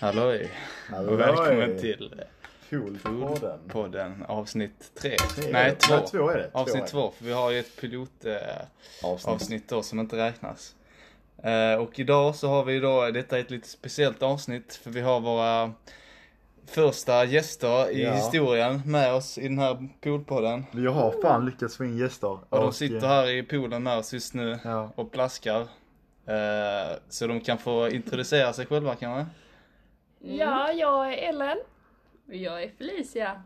Halloj! Halloj. Och välkommen till Poolpodden. Poolpodden avsnitt tre. Tre. Nej, två. Nej, två är det. Två är Avsnitt det. två, för vi har ju ett pilotavsnitt Avsnitt. då som inte räknas. Eh, Och idag så har vi då, detta är ett lite speciellt avsnitt för vi har våra första gäster i Ja. historien med oss i den här poolpodden. Vi har fan lyckats få in gäster. Och de sitter här i poolen med oss just nu eh, Ja. och plaskar. Eh, Så de kan få introducera sig själva kanske. Mm. Ja, jag är Ellen. Och jag är Felicia.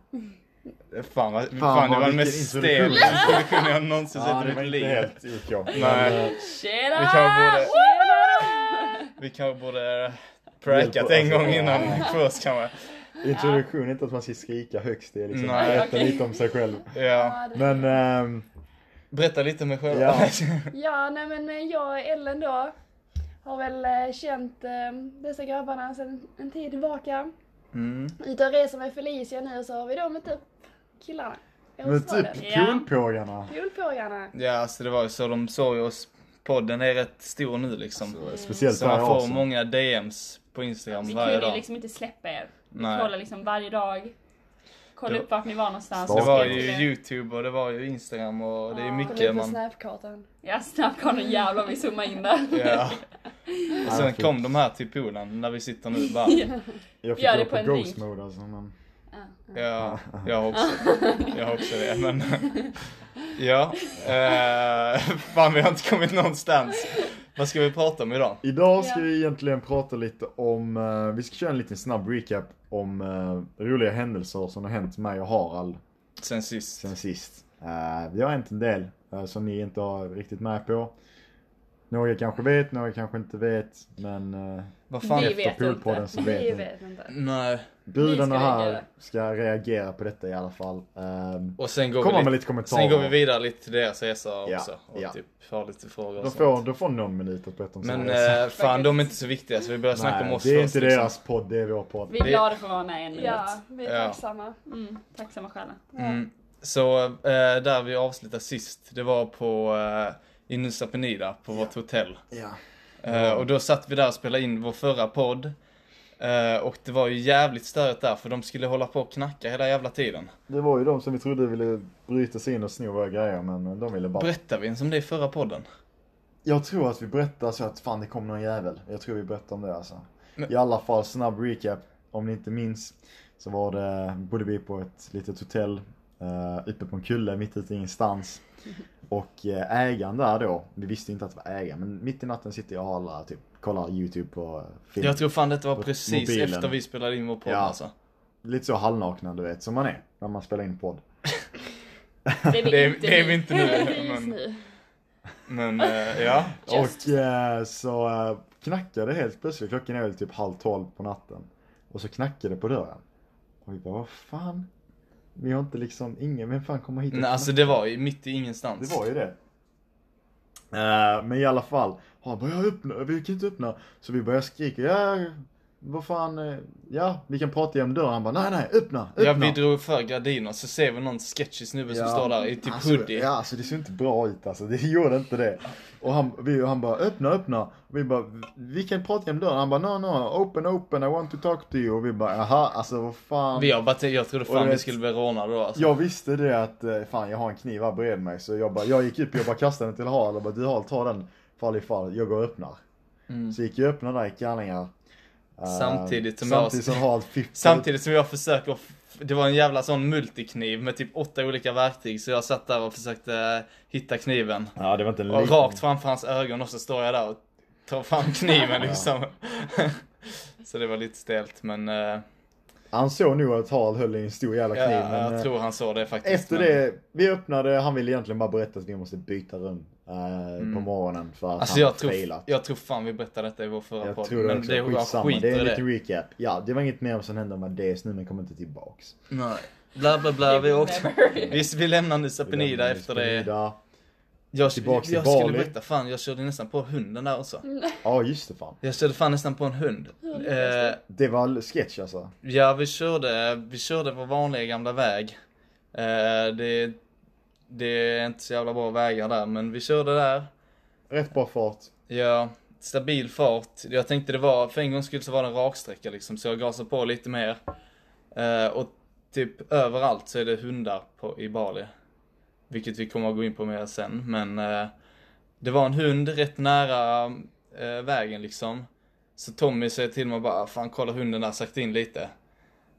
Fan, vad, fan, det vad var den vilken mest stela introduktion. introduktion jag någonsin Ja, sett det i var mitt inte liv. helt OK. Nej. Tjena! Vi kanske borde- Tjena! Vi kanske borde Hjälp prackat oss, en gång alltså. innan först kanske. Introduktion, inte att man ska skrika högst. Det är liksom Nej, berätta okej. lite om sig själv. Ja. Men ehm, Berätta lite om er själva. Ja. Ja, nej men eh, jag är Ellen då. Har väl eh, känt eh, dessa grabbarna sedan en tid tillbaka. Mm. Ute och reser med Felicia nu så har vi då mött upp killarna. men typ Ja. Poolpågarna. Julpågarna. ja, så det var ju så de såg oss. Podden är rätt stor nu liksom. Speciellt Så så här man får avsnitt. många DMs på Instagram Vi varje kunde ju dag. liksom inte släppa er. Vi Nej. kollade liksom varje dag. Kollade Det- upp vart ni var någonstans. Det Stalker. var skrev till ju er. Youtube och det var ju Instagram och det är Ja. Kolla mycket ut på man... snapkartan. Ja, Snapcharten jävlar vi zoomade in där. Ja. Och sen fint. kom de här till poolen där vi sitter nu bara. Jag fick Gör gå det på, på en ghost drink. mode alltså. Men... Ja, jag har också, jag har också det. Men, ja, eh, fan vi har inte kommit någonstans. Vad ska vi prata om idag? Idag ska Ja. vi egentligen prata lite om, eh, vi ska köra en liten snabb recap om eh, roliga händelser som har hänt mig och Harald Sen sist. sen sist. Eh, vi har hänt en del eh, som ni inte har riktigt med på. Några kanske vet, några kanske inte vet. Men eh, Vad fan? Vi- efter vet poolpodden inte. så Vi vet ni. vet inte. Nej. Brudarna Vi ska här reagera. ska reagera på detta i alla fall. Um, Och sen går, komma vi med lite, lite kommentarer. sen går vi vidare lite till deras resa Ja, också. Och ja. typ har lite frågor Då och får, sånt. då får någon minut att berätta om sin Men resa. eh, fan de är inte så viktiga så vi börjar snacka om Nej, oss det är först. inte liksom. deras podd, det är vår podd. Vi är glada för att vara med en minut. Ja, vi är Ja. tacksamma. Mm, tacksamma själar. Mm. Så eh, där vi avslutade sist, det var på eh, i Nusa Penida på vårt hotell. Ja. Eh, och då satt vi där och spelade in vår förra podd. Eh, och det var ju jävligt störigt där för de skulle hålla på och knacka hela jävla tiden. Det var ju de som vi trodde ville bryta sig in och sno våra grejer men de ville bara... Berättade vi ens om det i förra podden? Jag tror att vi berättar så att fan det kom någon jävel. Jag tror vi berättar om det alltså. Men- I alla fall snabb recap. Om ni inte minns så var det, bodde vi på ett litet hotell eh, uppe på en kulle mitt ute i ingenstans. Och eh, ägaren där då, vi visste inte att det var ägaren men mitt i natten sitter jag och alla typ kollar youtube på film. Jag tror fan detta var På precis mobilen. efter vi spelade in vår podd Ja. alltså. Lite så halvnakna du vet som man är när man spelar in podd. Det är vi Det är, inte det är nu. vi inte nu Just men, nu. men eh, ja. Just. Och eh, så eh, knackade det helt plötsligt, klockan är väl typ halv tolv på natten. Och så knackade det på dörren. Och vi bara, vad fan? Vi har inte liksom, ingen, vem fan kommer hit och Nej, alltså knackar?" det var ju mitt i ingenstans. det var ju det. Eh, men i alla fall, han bara, jag öppnar, vi kan inte öppna. Så vi börjar skrika, ja, vad fan, eh, ja, vi kan prata genom dörren. Han bara, nej, nej, öppna, öppna. Ja vi drog för gardiner så ser vi någon sketchy snubbe som Ja. står där i typ alltså, hoodie. Ja, alltså det ser inte bra ut alltså. Det gjorde inte det. Och han, vi, han bara öppna, öppna. Och vi bara, vi kan prata genom dörren. Han bara no, no, open, open, I want to talk to you. Och vi bara, aha, alltså vad fan. Vi har bara, tänkt- jag trodde Och fan du vi vet- skulle bli rånade då alltså. Jag visste det att, eh, fan jag har en kniv här bredvid mig. Så jag bara, jag gick upp, jag bara kastade den till Harald och bara, du Harald ta den. Fall ifall, jag går och öppnar. Mm. Så gick jag och öppnade där i kallingar. Eh, Samtidigt som jag- Samtidigt som Harald fippade. Samtidigt som jag försöker, f- det var en jävla sån multikniv med typ åtta olika verktyg så jag satt där och försökte eh, hitta kniven. Ja det var inte en Och rakt framför hans ögon och så står jag där och tar fram kniven liksom. så det var lite stelt men, eh, Han såg nog att Harald höll i en stor jävla kniv. ja, men, eh, jag tror han såg det faktiskt. Efter men... det, vi öppnade, han ville egentligen bara berätta att vi måste byta rum eh, på morgonen för att Alltså han jag tror, failat. jag tror fan vi berättade detta i vår förra Jag podd. tror det men också, det var skitsamma. skit Det är i en det. liten recap. Ja, det var inget mer som hände med det, snubben kommer inte tillbaks. Nej. Bla bla bla, vi åkte. Vi, vi lämnar Nusa Vi lämnar Penida efter det. Penida. Jag, Tillbaks till jag skulle Bali. berätta, fan jag körde nästan på hunden där också. Ja, just det fan. Jag körde fan nästan på en hund. Eh, Det var sketch alltså. Ja, vi körde, vi körde vår vanliga gamla väg. Eh, det, det är inte så jävla bra vägar där, men vi körde där. Rätt bra fart. Ja, stabil fart. Jag tänkte det var, för en gångs skull så var det en raksträcka liksom, så jag gasade på lite mer. Eh, och typ överallt så är det hundar på, i Bali. Vilket vi kommer att gå in på mer sen, men eh, det var en hund rätt nära eh, vägen liksom. Så Tommy säger till mig bara, fan kolla hunden där sakta in lite.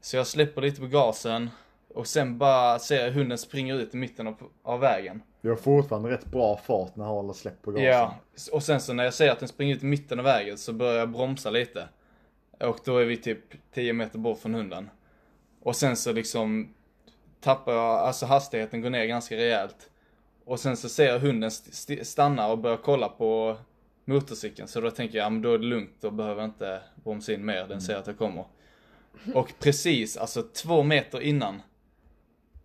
Så jag släpper lite på gasen och sen bara ser jag hunden springa ut i mitten av, av vägen. Vi har fortfarande rätt bra fart när jag håller släpp på gasen. Ja, och sen så när jag ser att den springer ut i mitten av vägen så börjar jag bromsa lite. Och då är vi typ 10 meter bort från hunden. Och sen så liksom tappar jag, alltså hastigheten går ner ganska rejält. Och sen så ser jag hunden st- st- stanna och börjar kolla på motorcykeln. Så då tänker jag, ja men då är det lugnt, då behöver jag inte bromsa in mer, Mm. den ser att jag kommer. Och precis, alltså två meter innan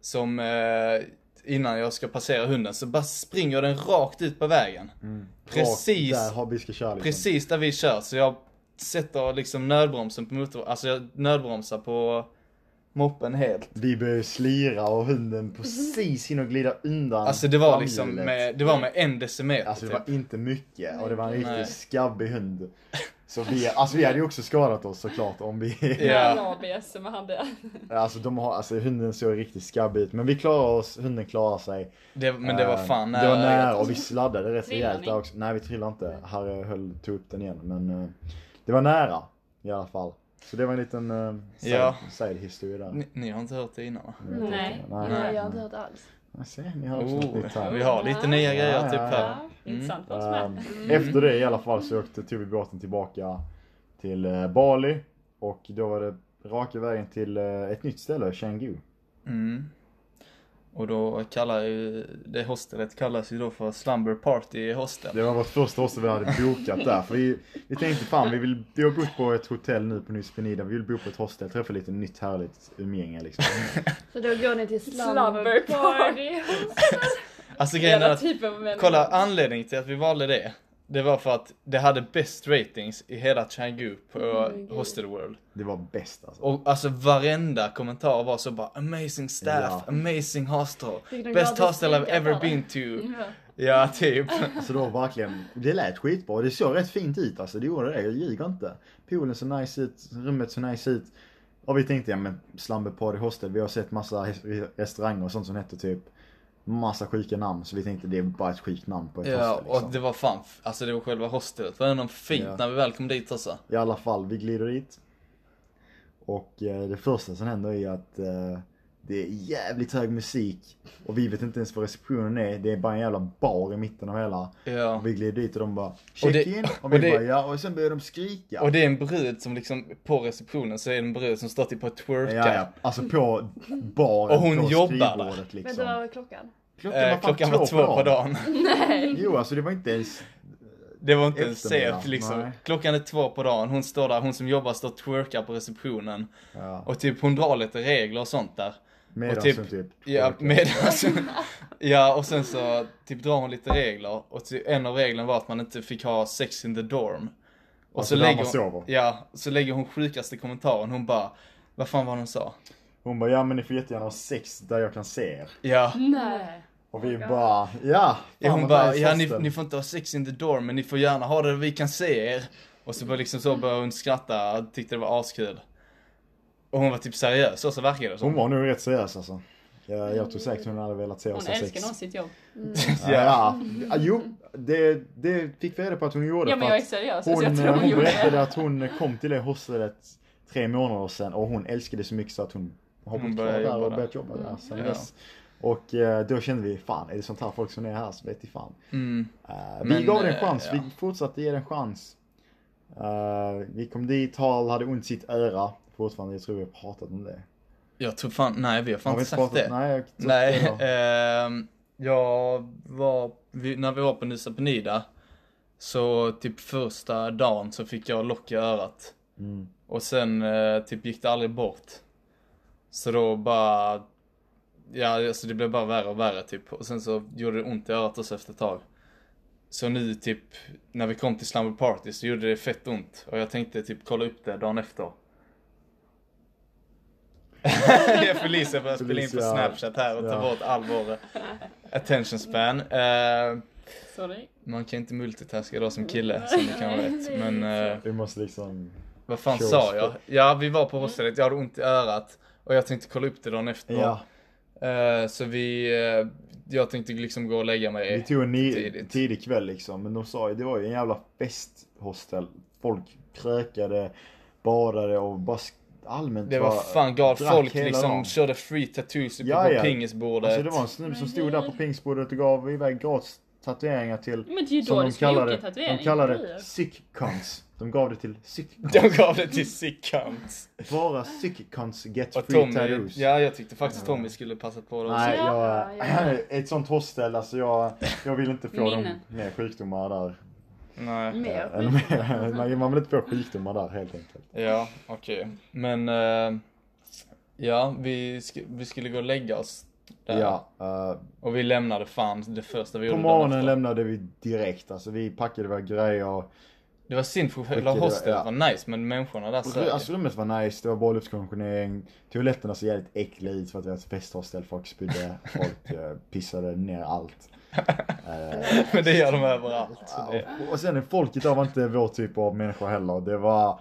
som eh, innan jag ska passera hunden så bara springer den rakt ut på vägen. Precis, Rakt där har vi ska köra liksom. precis där vi kör så jag sätter liksom nödbromsen på motor, alltså jag nödbromsar på moppen helt. Vi börjar ju slira och hunden precis hinner glida undan Alltså det var framhjulet. liksom med, det var med en decimeter Alltså det typ. var inte mycket och det var en Nej. riktigt skabbig hund. Så vi, alltså vi hade ju också skadat oss såklart om vi... Ja. Ja. ABS som jag hade. Alltså, de har, alltså hunden såg riktigt skabbig ut men vi klarade oss, hunden klarade sig. Det, men det var Eh, fan Det var nära ögat. och vi sladdade rätt Trillade rejält ni? där också. Nej vi trillade inte. Harry höll, tog upp den igen men eh, det var nära i alla fall. Så det var en liten eh, side, Ja. side history där. Ni, ni har inte hört det innan va? Jag vet Nej. inte. Nej, Nej. jag har inte hört alls. Ja, Se, ni har också något nytt Oh, här. vi har lite nya Ja, grejer ja, typ här. Ja, Mm. intressant för oss Ehm, med. Efter det i alla fall så åkte, tog vi båten tillbaka till eh, Bali och då var det raka vägen till eh, ett nytt ställe, Canggu. Mm. Och då kallar ju, det hostelet kallas ju då för Slumber Party Hostel. Det var vårt första hostel vi hade bokat där för vi, vi tänkte fan vi, vill, vi har bott på ett hotell nu på Nyspinida, vi vill bo på ett hostel, träffa lite nytt härligt umgänge liksom. Så då går ni till Slumber slumber party. Alltså grejen är Hela att, typen typ av människor. kolla anledningen till att vi valde det, det var för att det hade bäst ratings i hela Changu på Mm, gud. Hostel World. Det var bäst alltså. Och alltså varenda kommentar var så bara amazing staff, Ja. amazing hostel, Fick de best gratis hostel I've drinkar ever bara? been to. Ja. Ja, typ. Så Alltså, det var verkligen, det lät skitbra och det såg rätt fint ut alltså, det gjorde det, jag ljuger inte. Poolen så nice ut, rummet så nice ut. Och vi tänkte, ja men Slumber Party Hostel, vi har sett massa hes- restauranger och sånt som hette typ massa sjuka namn. Så vi tänkte det är bara ett sjukt namn på ett Ja, hostel liksom. och det var fan, f- alltså det var själva hostelet, var ändå fint Ja. när vi väl kom dit alltså. I alla fall, vi glider dit. Och eh, det första som händer är att eh, det är jävligt hög musik. Och vi vet inte ens vad receptionen är, det är bara en jävla bar i mitten av hela. Ja. Och vi glider dit och de bara Och check det- in och och vi det- bara ja och sen börjar de skrika. Och det är en brud som liksom, på receptionen så är det en brud som står typ och twerkar. Ja, ja. Alltså på baren, Och hon på jobbar där. skrivbordet Vet du vad liksom. var klockan? Klockan Eh, klockan var två på dagen. Jo alltså det var inte ens, Det var inte en Eftermiddag, sent liksom. nej. Klockan är två på dagen, hon står där, hon som jobbar står och twerkar på receptionen. ja. Och typ hon drar lite regler och sånt där. Medan och typ- som typ. Ja, med, alltså, ja och sen så typ drar hon lite regler. Och ty, en av reglerna var att man inte fick ha sex in the dorm. Och Alltså, där man sover. ja, så lägger hon sjukaste kommentaren, hon bara vad fan var det hon sa? Hon bara ja men ni får jättegärna ha sex där jag kan se er. Ja, Nej. Och vi bara ja. ja fan, hon vad bara, nice ja ni, hostel." ni får inte ha sex in the dorm men ni får gärna ha det där vi kan se er. Och så började liksom så började hon skratta, tyckte det var askul. Och hon var typ seriös, så, så verkade det som. Hon var nog rätt seriös alltså. Jag, jag tror säkert hon hade velat se Hon oss ha älskar nog sex. sitt jobb. Ja, ja. ja, jo det, det fick vi reda på att hon gjorde Ja men för jag är att seriös. hon, eh, alltså, jag tror hon, hon gjorde det. berättade att hon kom till det hostelet tre månader sedan och hon älskade det så mycket så att hon har Hon bott kvar började där jobba och där. börjat jobba där sen Ja. dess. Och eh, då kände vi, fan är det sånt här folk som är här så vet i fan. Mm. Eh, Men, vi gav den en eh, chans, ja. vi fortsatte ge den en chans. Eh, vi kom dit, Hal hade ont i sitt öra. Fortfarande, jag tror vi har pratat om det. Jag tror fan, nej vi har fan vi inte sagt det. Nej, jag, Nej, jag- ehm, jag var, vi, när vi var på Nusa Penida så typ första dagen så fick jag lock i örat Mm. och sen eh, typ gick det aldrig bort. Så då bara, ja alltså det blev bara värre och värre typ och sen så gjorde det ont i örat också efter ett tag. Så nu typ, när vi kom till Slumber Party så gjorde det fett ont och jag tänkte typ kolla upp det dagen efter. Ja, Felicia börjar spela in på Felicia. snapchat här och ta Ja. bort all vår attention span. Eh, Sorry. Man kan inte multitaska idag som kille, som du kan ha rätt. Nej, Men det är eh, Vi måste liksom... vad fan Show sa us jag? Ja, vi var på hostelet, jag hade ont i örat. Och jag tänkte kolla upp det dagen efter. Ja, Eh, så vi, eh, jag tänkte liksom gå och lägga mig. vi tog en ny, tidigt. tidig kväll liksom. Men de sa ju, det var ju en jävla festhostel. Folk krökade, badade och bara sk- allmänt Det var bara fan galet. drack Folk hela liksom dagen. körde free tattoos uppe Ja, på ja. pingisbordet. Alltså det var en snubbe som Men stod där gud. på pingisbordet och gav iväg gratis tatueringar till, Men det är ju då som du de ska kallade, gjort en de tatuering. kallade blir. det sick cunts. De gav det till sick De cunts. gav det till Sickhunt. Bara sick cunts get Och free Tommy, tattoos. ja jag tyckte faktiskt Tommy skulle passa på det också. Nej, Ja, jag, ja. ett sånt hostel, alltså jag, jag vill inte få Minnen. de mer sjukdomar där. Nej. Mer Eller skit. mer, man, man vill inte få sjukdomar där helt enkelt. Ja, okej. Men, eh, ja vi, sk- vi skulle gå och lägga oss där. Ja, eh, Och vi lämnade fan det första vi på gjorde dagen morgonen efter. lämnade vi direkt, alltså vi packade våra grejer. Det var synd för Vilket det själva var, hostelet ja. var nice men människorna där sög. Alltså rummet var nice, det var bra luftkonditionering. Toaletterna såg jävligt äckliga ut för att vi hade ett festhostel, folk spydde, folk eh, pissade ner allt. Eh, Men det gör de överallt. Så det, och, och sen folket där var inte vår typ av människor heller. Det var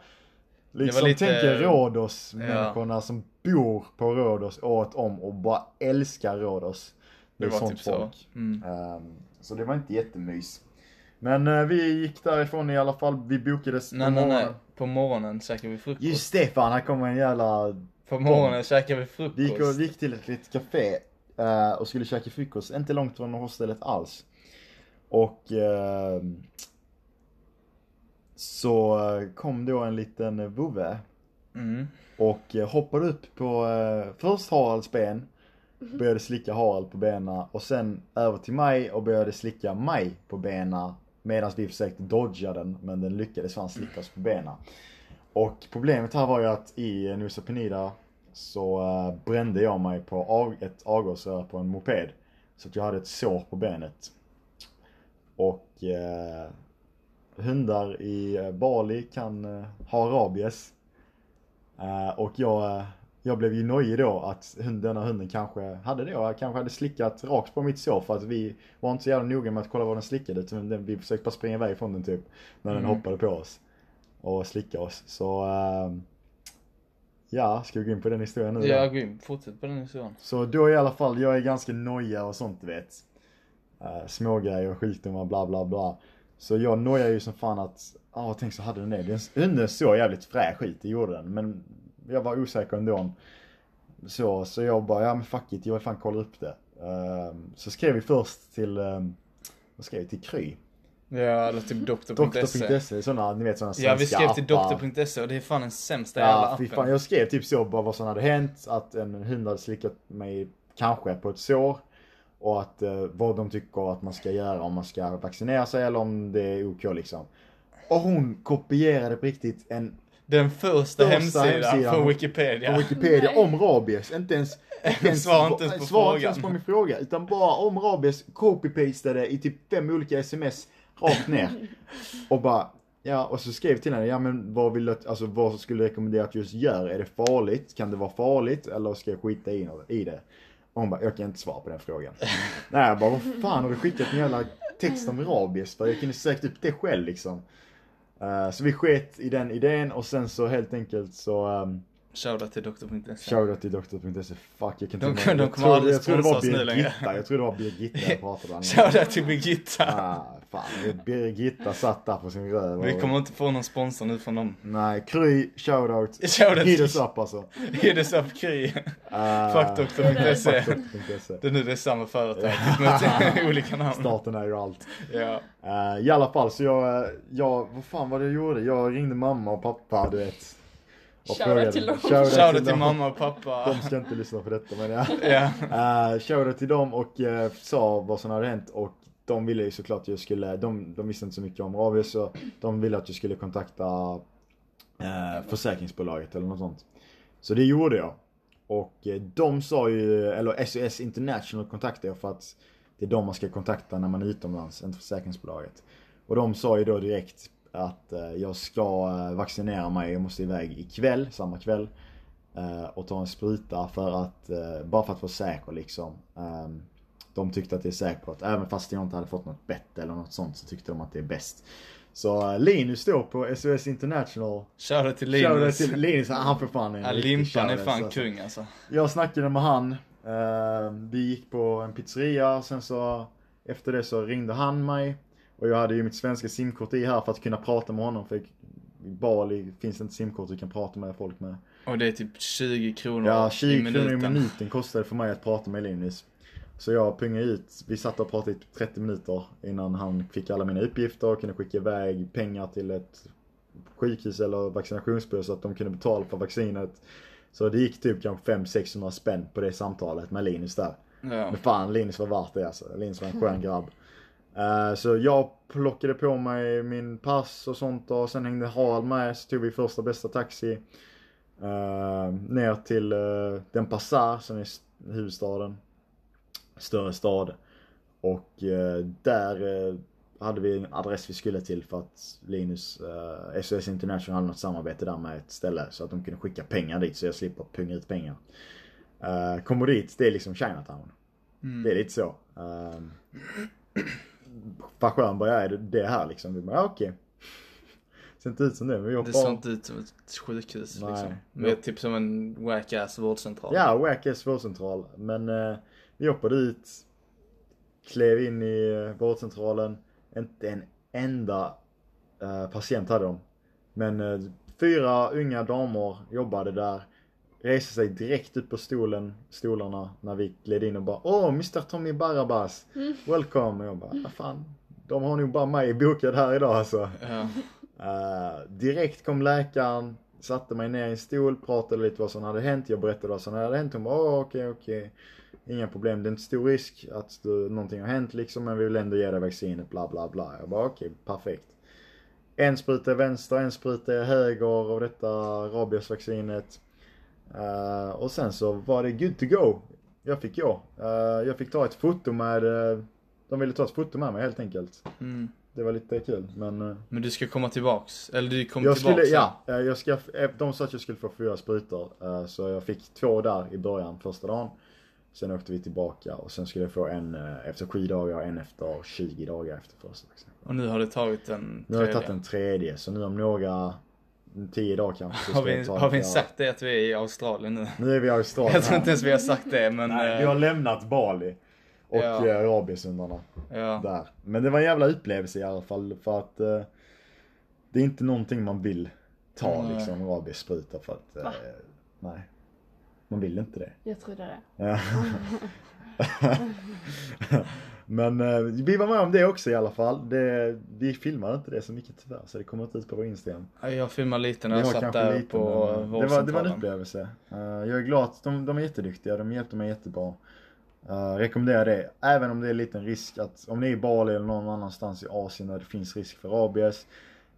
liksom, lite- tänk er Rhodos människorna som bor på Rhodos året om och bara älskar Rhodos. det var typ så. Mm. Ehm, så det var inte jättemys. Men eh, vi gick därifrån i alla fall, vi bokades Nej, på nej, nej. morgonen. På morgonen käkade vi frukost. Just det fan, här kommer en jävla... På morgonen käkade vi frukost. Vi gick, och, vi gick till ett litet café eh, och skulle käka frukost, inte långt från hostellet alls. Och... ehm, så eh, kom då en liten vovve Mm. och eh, hoppade upp på eh, först Haralds ben, började slicka Harald på benen och sen över till mig och började slicka mig på benen medan vi försökte dodga den men den lyckades fan slicka oss på benen. Och problemet här var ju att i Nusa Penida så eh, brände jag mig på av, ett avgasrör på en moped. Så att jag hade ett sår på benet. Och eh, hundar i eh, Bali kan eh, ha rabies. Eh, och jag, eh, jag blev ju nojig då att hund, denna hunden kanske hade det. Jag kanske hade slickat rakt på mitt sår för att vi var inte så jävla noga med att kolla vad den slickade. Utan den, vi försökte bara springa iväg från den typ. När den Mm. hoppade på oss. Och slicka oss. Så eh, ja, ska vi gå in på den historien nu då? Ja, grym. Fortsätt på den historien. Så då i alla fall, jag är ganska noja och sånt du vet. Uh, smågrejer, sjukdomar, bla bla bla. Så jag nojar ju som fan att, ja tänk så hade den det. Den- Hunden såg jävligt fräsch ut, det gjorde den. Men jag var osäker ändå. Så, så jag bara, ja men fuck it, jag vill fan kolla upp det. Ehm, så skrev vi först till, ehm, vad skrev vi? Till Kry? Ja, eller typ doktor.se. Doktor.se, sådana, E, ni vet sådana Ja, vi skrev till appar. doktor.se E och det är fan den sämsta jävla Ja, fy appen. fan, jag skrev typ så bara vad som hade hänt, att en hund hade slickat mig kanske på ett sår. Och att eh, vad de tycker att man ska göra, om man ska vaccinera sig eller om det är OK liksom. Och hon kopierade på riktigt en Den första Första hemsidan hemsidan. från Wikipedia. på Wikipedia Nej. om rabies. Inte ens, inte ens, Svara inte ens på svara inte frågan. ens på min fråga. Utan bara om rabies, copy-pastade i typ fem olika sms rakt ner. Och bara, ja, och så skrev till henne, ja men vad vill du, att- alltså vad skulle du rekommendera att just gör? Är det farligt? Kan det vara farligt? Eller ska jag skita i, i det? Och hon bara, jag kan inte svara på den frågan. Nej, jag bara, vad fan har du skickat en jävla text om rabies för? Jag kunde sökt upp det själv liksom. Eh, så vi sket i den idén och sen så helt enkelt så ehm, Shoutout till doktor.se. Shoutout till doktor.se, fuck jag kan De- inte de jag kommer tror- aldrig jag tror det var sponsra oss nu längre. Birgitta, Jag tror det var Birgitta jag pratade om. Shoutout till Birgitta. Ah, fan, Birgitta satt där på sin röv. Vi kommer inte få någon sponsor nu från dem. Nej, Kry, shoutout. Shoutout Hit till us up alltså. Hit us up Kry. Uh, Fuck doktor.se. Doktor.se. Det är nu det är samma företag. Med olika namn. Staten är ju allt. Ja. Eh, I alla fall så jag, eh, jag, vad fan var det jag gjorde? Jag ringde mamma och pappa du vet. Och Shoutout frågade- till dem. Shoutout till dem. mamma och De pappa. ska inte lyssna på detta men ja. Ja. Uh, shoutout till dem och eh, sa vad som hade hänt och de ville ju såklart att jag skulle, de, de visste inte så mycket om rabies så de ville att jag skulle kontakta eh, försäkringsbolaget eller något sånt. Så det gjorde jag. Och eh, de sa ju, eller SOS International kontaktade jag för att det är de man ska kontakta när man är utomlands, inte försäkringsbolaget. Och de sa ju då direkt att eh, jag ska eh, vaccinera mig, jag måste iväg ikväll, samma kväll. eh, Och ta en spruta för att, eh, bara för att vara säker liksom. Ehm, de tyckte att det är säkert. Även fast jag inte hade fått något bett eller något sånt så tyckte de att det är bäst. Så eh, Linus står på SOS International. Shoutout till Shoutout Linus. till Linus, han för fan är en Ja, riktig Limpan är shoutout, fan alltså. kung alltså. Jag snackade med han. Eh, vi gick på en pizzeria och sen så efter det så ringde han mig. Och jag hade ju mitt svenska simkort i här för att kunna prata med honom. För i Bali finns det inte simkort du kan prata med folk med. Och det är typ 20 kronor Ja, 20 kronor i minuten kostade det för mig att prata med Linus. Så jag pungade ut, vi satt och pratade i 30 minuter innan han fick alla mina uppgifter och kunde skicka iväg pengar till ett sjukhus eller vaccinationsbyrå så att de kunde betala för vaccinet. Så det gick typ kanske 500-600 spänn på det samtalet med Linus där. Ja. Men fan, Linus var värt det alltså. Linus var en skön grabb. Eh, så jag plockade på mig min pass och sånt och sen hängde Harald med. Så tog vi första bästa taxi. eh, ner till eh, den Passar som är s- huvudstaden. Större stad. Och eh, där eh, hade vi en adress vi skulle till för att Linus, eh, SOS International hade något samarbete där med ett ställe så att de kunde skicka pengar dit så jag slipper punga ut pengar. Uh, kommer dit, det är liksom Chinatown. Det är lite så. Um, fan skön bara är det, det här liksom. Vi bara, ja, okej. Ser inte ut som det, men vi Det hoppar ser av. inte ut som ett sjukhus Nej. liksom. Med typ som en whack-ass vårdcentral. Ja, Wack är vårdcentral. Men eh, vi hoppade dit. Klev in i eh, vårdcentralen. Inte en enda eh, patient hade de. Men eh, fyra unga damer jobbade där. Reste sig direkt upp på stolen, stolarna när vi gled in och bara Åh, Mr Tommy Barabas! Welcome! Och jag bara, "Ah, fan. De har nog bara mig bokad här idag alltså. Ja. Eh, direkt kom läkaren, satte mig ner i en stol, pratade lite vad som hade hänt. Jag berättade vad som hade hänt. Hon bara, "Åh, okej, okej. Inga problem, det är inte stor risk att du, någonting har hänt liksom, men vi vill ändå ge dig vaccinet, bla bla bla. Jag bara, okej, perfekt. En spruta i vänster, en spruta i höger av detta rabiesvaccinet. Eh, och sen så var det good to go. Jag fick ja. Eh, jag fick ta ett foto med, eh, de ville ta ett foto med mig helt enkelt. Mm. Det var lite kul, men eh, Men du ska komma tillbaks. Eller du kom jag tillbaks. skulle, ja, eh, jag ska, eh, de sa att jag skulle få fyra sprutor. eh, Så jag fick två där i början, första dagen. Sen åkte vi tillbaka och sen skulle jag få en eh, efter sju dagar och en efter 20 dagar efter första vaccinet. Och nu har du tagit en Nu har jag tredje. tagit den tredje, så nu om några 10 dagar kanske så Har ska vi, jag ta har vi en fjärde. sagt det att vi är i Australien nu? Nu är vi i Australien. Jag tror inte ens vi har sagt det men... Nej, vi eh, har lämnat Bali. Och eh, Ja. ja. rabieshundarna. ja. Där. Men det var en jävla upplevelse i alla fall för att eh, det är inte någonting man vill ta Nej. liksom rabiesspruta för att eh, Va? nej. Man vill inte det. Jag trodde det. Ja. Men eh, vi var med om det också i alla fall. Det, vi filmade inte det så mycket tyvärr så det kommer inte ut på vår Instagram. Jag filmade lite när Vi jag har satt kanske där lite, på men, eh, det, var, det var en vårdcentralen. upplevelse. Eh, jag är glad, att de, de är jätteduktiga, de hjälpte mig jättebra. Uh, rekommenderar det, även om det är en liten risk att om ni är i Bali eller någon annanstans i Asien där det finns risk för rabies.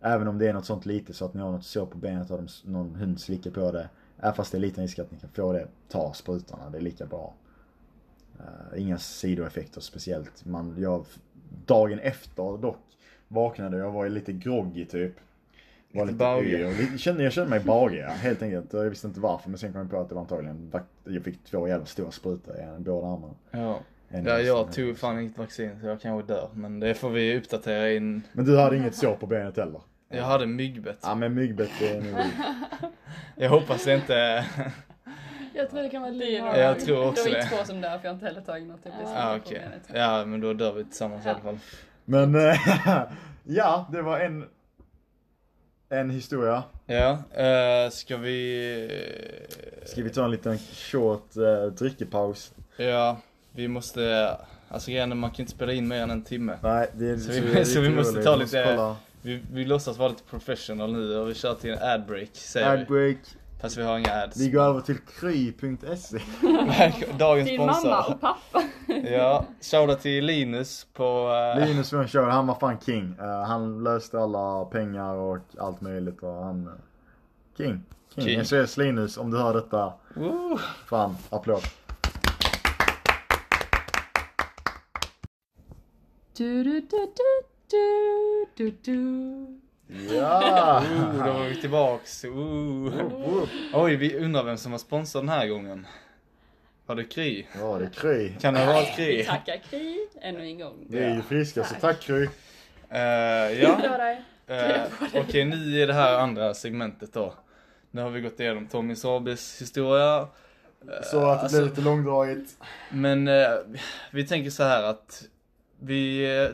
Även om det är något sånt litet så att ni har något sår på benet och de, någon hund slickar på det. Även fast det är liten risk att ni kan få det, ta sprutorna, det är lika bra. Eh, inga sidoeffekter speciellt. Man, jag, dagen efter dock vaknade jag och var lite groggy typ. Var Lite lite baggy. yr och lite- kände, jag kände mig bagig ja, helt enkelt. Jag visste inte varför men sen kom jag på att det var antagligen vak- jag fick två jävla stora sprutor i en- båda armarna. Ja. En Ja, i jag näsan. tog fan inget vaccin så jag kanske dör. Men det får vi uppdatera in. Men du hade inget sår på benet heller? Jag hade myggbett. Ja men myggbett det är nog... Jag hoppas det inte... Jag tror det kan vara Det är lite nog, Jag tror också de är det. två som dör för jag har inte heller tagit något. Jag blir så Ja, Ah, på okej. benet. Ja, men då dör vi tillsammans i alla fall. Men eh, ja, det var en... En historia. Ja, eh, ska vi... Ska vi ta en liten short eh, drickepaus? Ja, vi måste... Alltså grejen är, man kan inte spela in mer än en timme. Nej, det är Så vi- det är så vi lite måste roligt. ta Vi måste lite- kolla. Vi, vi låtsas vara lite professional nu och vi kör till en ad break säger Ad vi. break. Fast vi har inga ads. Vi går över till kry.se. Dagens Din mamma sponsor. och pappa. Ja, shoutout till Linus på... eh, Linus som jag kör, han var fan king. Eh, han löste alla pengar och allt möjligt och han... eh, King. King. King. SOS Linus, om du hör detta. Woo! Fan, applåd. Du, du, du, du, du, du, du. Ja! Ooh, då var vi tillbaks. Ooh. Oj, vi undrar vem som var sponsor den här gången. Var det krig? Ja, det är Kry. Kan det ha varit Vi krig? tackar Kry ännu en gång. Vi är ju friska, så Tack. tack Kry. Eh, Det ja. var det. Eh, Okej, nu är det här andra segmentet då. Nu har vi gått igenom Tommy Sabes historia. Så att det alltså- blir lite långdraget. Men eh, vi tänker så här att vi, eh,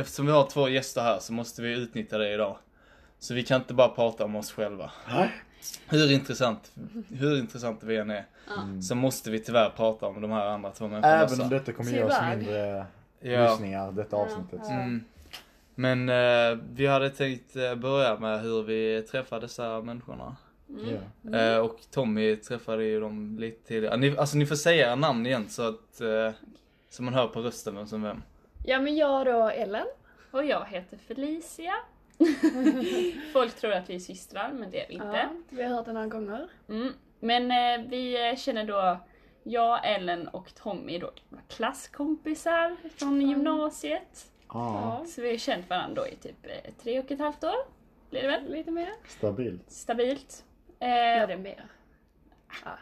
eftersom vi har två gäster här så måste vi utnyttja det idag. Så vi kan inte bara prata om oss själva. Nej. Hur intressant, hur intressant vi än är, Ja. så måste vi tyvärr prata om de här andra två människorna Mm. Även om också. detta kommer ge oss Tyvärr. mindre Alltså. Ja. lyssningar, detta Ja. avsnittet. Ja. Mm. Men eh, vi hade tänkt eh, börja med hur vi träffade dessa människorna. Mm. Ja. Eh, och Tommy träffade ju dem lite tidigare. Ni, alltså ni får säga era namn igen så att eh, så man hör på rösten vem som vem. Ja men jag då, Ellen. Och jag heter Felicia. Folk tror att vi är systrar, men det är vi inte. Ja, vi har hört det några gånger. Mm. Men eh, vi eh, känner då, jag, Ellen och Tommy då var klasskompisar från gymnasiet. Ah, Ja. Så vi har känt varandra då i typ eh, tre och ett halvt år. Blir det väl? Lite mer. stabilt. Stabilt. Eh, Ja, det är mer. Ja. Ah.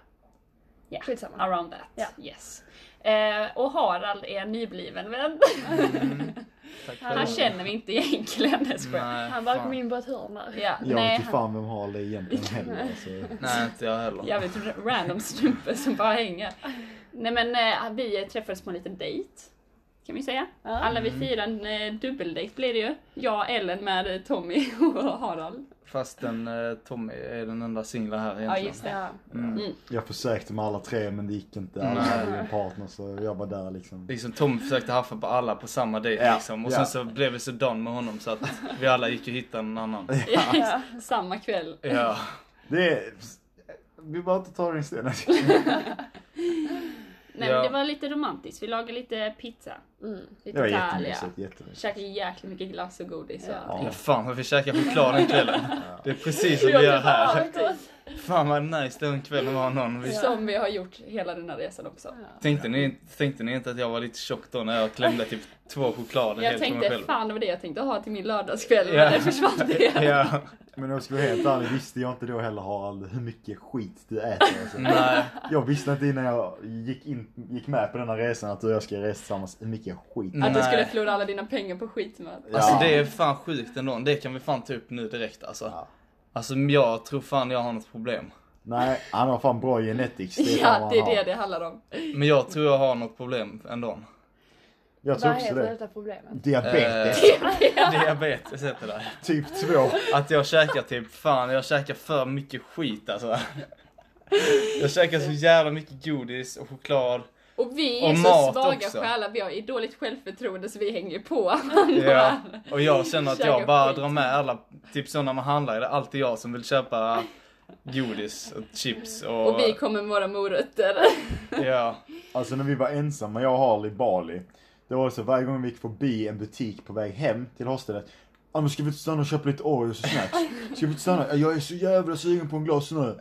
Ja. Skitsamma. Around that, Ja. yes. Eh, och Harald är en nybliven vän. Tack för Han det. känner vi inte egentligen, jag skojar. Nej, Han bara fan. kom in på ett hörn där. Ja, Jag nej, vet inte han, fan vem har det egentligen heller. Alltså. Nej, inte jag heller. jag vet, r- random snubbe som bara hänger. Nej men eh, vi träffades på en liten dejt. Kan vi säga. Ja. Alla Mm. vi fyra, en eh, dubbeldejt blir det ju. Jag, Ellen med eh, Tommy och Harald. Fast den eh, Tommy är den enda singla här egentligen. Ja just det. Ja. Mm. Jag försökte med alla tre men det gick inte. Alla Nej. hade ju en partner så jag var där liksom. Liksom Tom försökte haffa på alla på samma dejt Ja, liksom. Och ja. sen så blev vi så done med honom så att vi alla gick och hittade en annan. Ja. Samma kväll. Ja. Det är... Vi bara inte tar den istället. Nej Ja. men det var lite romantiskt. Vi lagade lite pizza. Mm. Det Lite var Italia. jättemysigt, jättemysigt. Käkade jäkligt mycket glass och godis. Ja. Och Ja, fan vad vi käkade choklad den kvällen. Det är precis som Jag vi gör tycker bara, här. "Ah, gott." Fan vad nice den kvällen var någon. Vi... Som vi har gjort hela den här resan också. Tänkte, ni, tänkte ni inte att jag var lite tjock då när jag klämde typ två choklader Jag helt för mig tänkte, själv? fan det var det jag tänkte ha till min lördagskväll, Ja. men det försvann det. Ja, Men om jag ska vara helt ärlig visste jag inte då heller Harald hur mycket skit du äter. Alltså. nej. Jag visste inte innan jag gick, in, gick med på den här resan att du och jag ska resa tillsammans hur mycket skit. Mm. Att du Nej. skulle förlora alla dina pengar på skitmat. Ja. Alltså det är fan sjukt ändå. Det kan vi fan ta upp nu direkt alltså. Ja. Alltså jag tror fan jag har något problem. Nej, han har fan bra genetics. är fan Ja, vad det han är det har. det handlar om. Men jag tror jag har något problem ändå. Jag tror Vad också heter det. detta problemet? Diabetes, Eh, Diabetes heter det. typ 2. Att jag käkar typ, fan jag käkar för mycket skit alltså. Jag käkar så jävla mycket godis och choklad. Och vi är Och så mat svaga också. själar, vi har ju dåligt självförtroende så vi hänger ju på. Ja. Och jag känner att Käkar jag bara skit. drar med alla, typ så när man handlar är det alltid jag som vill köpa godis och chips och... Och vi kommer med våra morötter. Ja. Alltså när vi var ensamma, jag och Harley i Bali. Det var så varje gång vi gick förbi en butik på väg hem till hostelet. Ja men ska vi inte stanna och köpa lite Oreos och snacks? Ska vi inte stanna? Jag är så jävla sugen på en glas nu.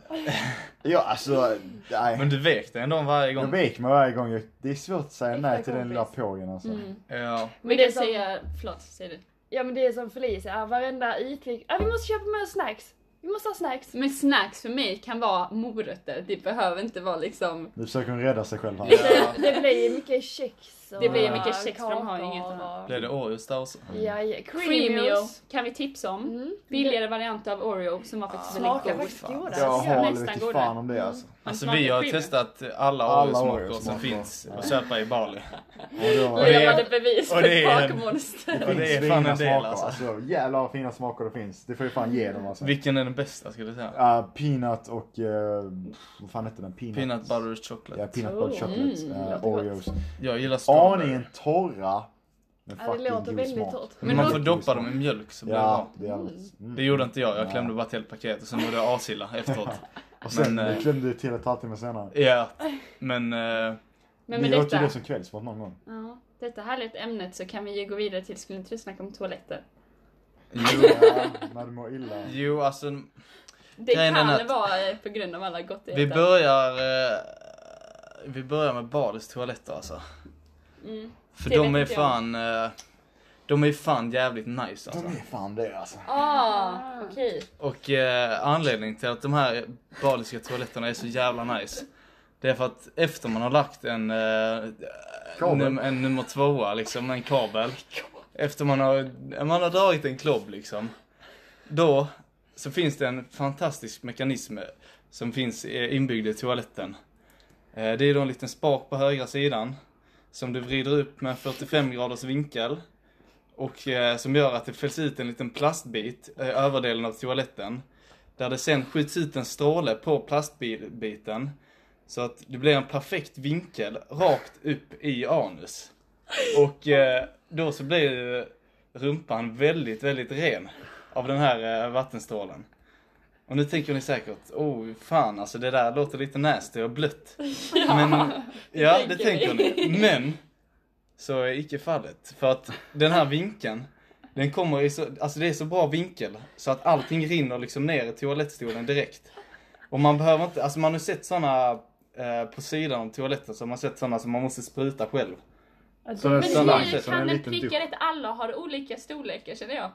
Ja alltså, nej. Men du vek dig ändå varje Jag gång. vek mig varje gång. jag- Det är svårt att säga nej till den lilla kompis. pågen alltså. Ja. Men Men det det som- säger, förlåt, säger du. Ja men det är som Felicia, varenda utflykt. Ah, vi måste köpa med oss snacks. Vi måste ha snacks. Men snacks för mig kan vara morötter, det behöver inte vara liksom Nu försöker hon rädda sig själv här. ja. Det blir mycket kex och Det blir mycket kex, för de har ju kakor inget och- annat. Blev det Oreos där också? Ja, ja. Creamio Creamios. kan vi tipsa om. Mm. Billigare variant av Oreo som var faktiskt Smakar väldigt god. faktiskt goda. Jag Alltså, har- Harley nästan vet går inte det. fan om det alltså. Alltså smakar vi har creamy. testat alla Alla Oreo-smaker Oreo-smaker. som finns Ja. att köpa i Bali. Ja, Och det Liam är- hade bevis och för det ett är en- bakmonster. Ja, det är fan en del, smaker, alltså. Jävlar vad fina smaker det finns. Det får ju fan ge dem alltså. Vilken är den bästa skulle du säga? Ja, peanut och... eh, vad fan hette den? Peanut, Peanut butter chocolate. Ja, peanut butter Oh, chocolate. mm, eh, låter gott. Oreos. Jag gillar Aningen strawberry. torra. Men Ja, det fucking låter god väldigt smak. torrt. Men Men man då- får doppa dem i mjölk så blir det Ja, bra. det är alldeles. Mm. Det gjorde inte jag, jag Ja. klämde bara ett helt paket och sen mådde jag asilla efteråt. Och sen men, eh, du klämde till ett halvtimme senare. Ja, men... eh, Men med Vi åt ju detta, det som kvällsmat någon gång. ja, detta härligt ämnet så kan vi ju gå vidare till, skulle inte du snacka om toaletter? jo, Ja, när du mår illa. jo, alltså Det Grejen är kan att- vara eh, på grund av alla gottigheter. vi börjar... eh, Vi börjar med Balis toaletter alltså. Mm. För Det de vet är inte jag. fan... eh, De är fan jävligt nice De alltså. är fan det alltså. Ah, okej. Och eh, anledningen till att de här baliska toaletterna är så jävla nice Det är för att efter man har lagt en, eh, Kabel. num- en nummer tvåa liksom, en kabel. Efter man har, man har dragit en klobb liksom. Då så finns det en fantastisk mekanism eh, som finns eh, inbyggd i toaletten. Eh, Det är då en liten spak på högra sidan som du vrider upp med 45 graders vinkel och eh, som gör att det fälls ut en liten plastbit eh, överdelen av toaletten. Där det sen skjuts ut en stråle på plastbiten så att det blir en perfekt vinkel rakt upp i anus. Och eh, då så blir ju rumpan väldigt, väldigt ren av den här eh, vattenstrålen. Och nu tänker ni säkert, oh fan alltså det där låter lite nasty och blött. Men, ja det tänker ni. Men, så är icke fallet. För att den här vinkeln, den kommer i så, alltså det är så bra vinkel så att allting rinner liksom ner i toalettstolen direkt. Och man behöver inte, alltså man har sett sådana eh, på sidan av toaletten så har man sett sådana som man måste spruta själv. Alltså, Så den Men Sen lagt hur det som kan en den liten pricka dusch. rätt? Alla har olika storlekar känner jag.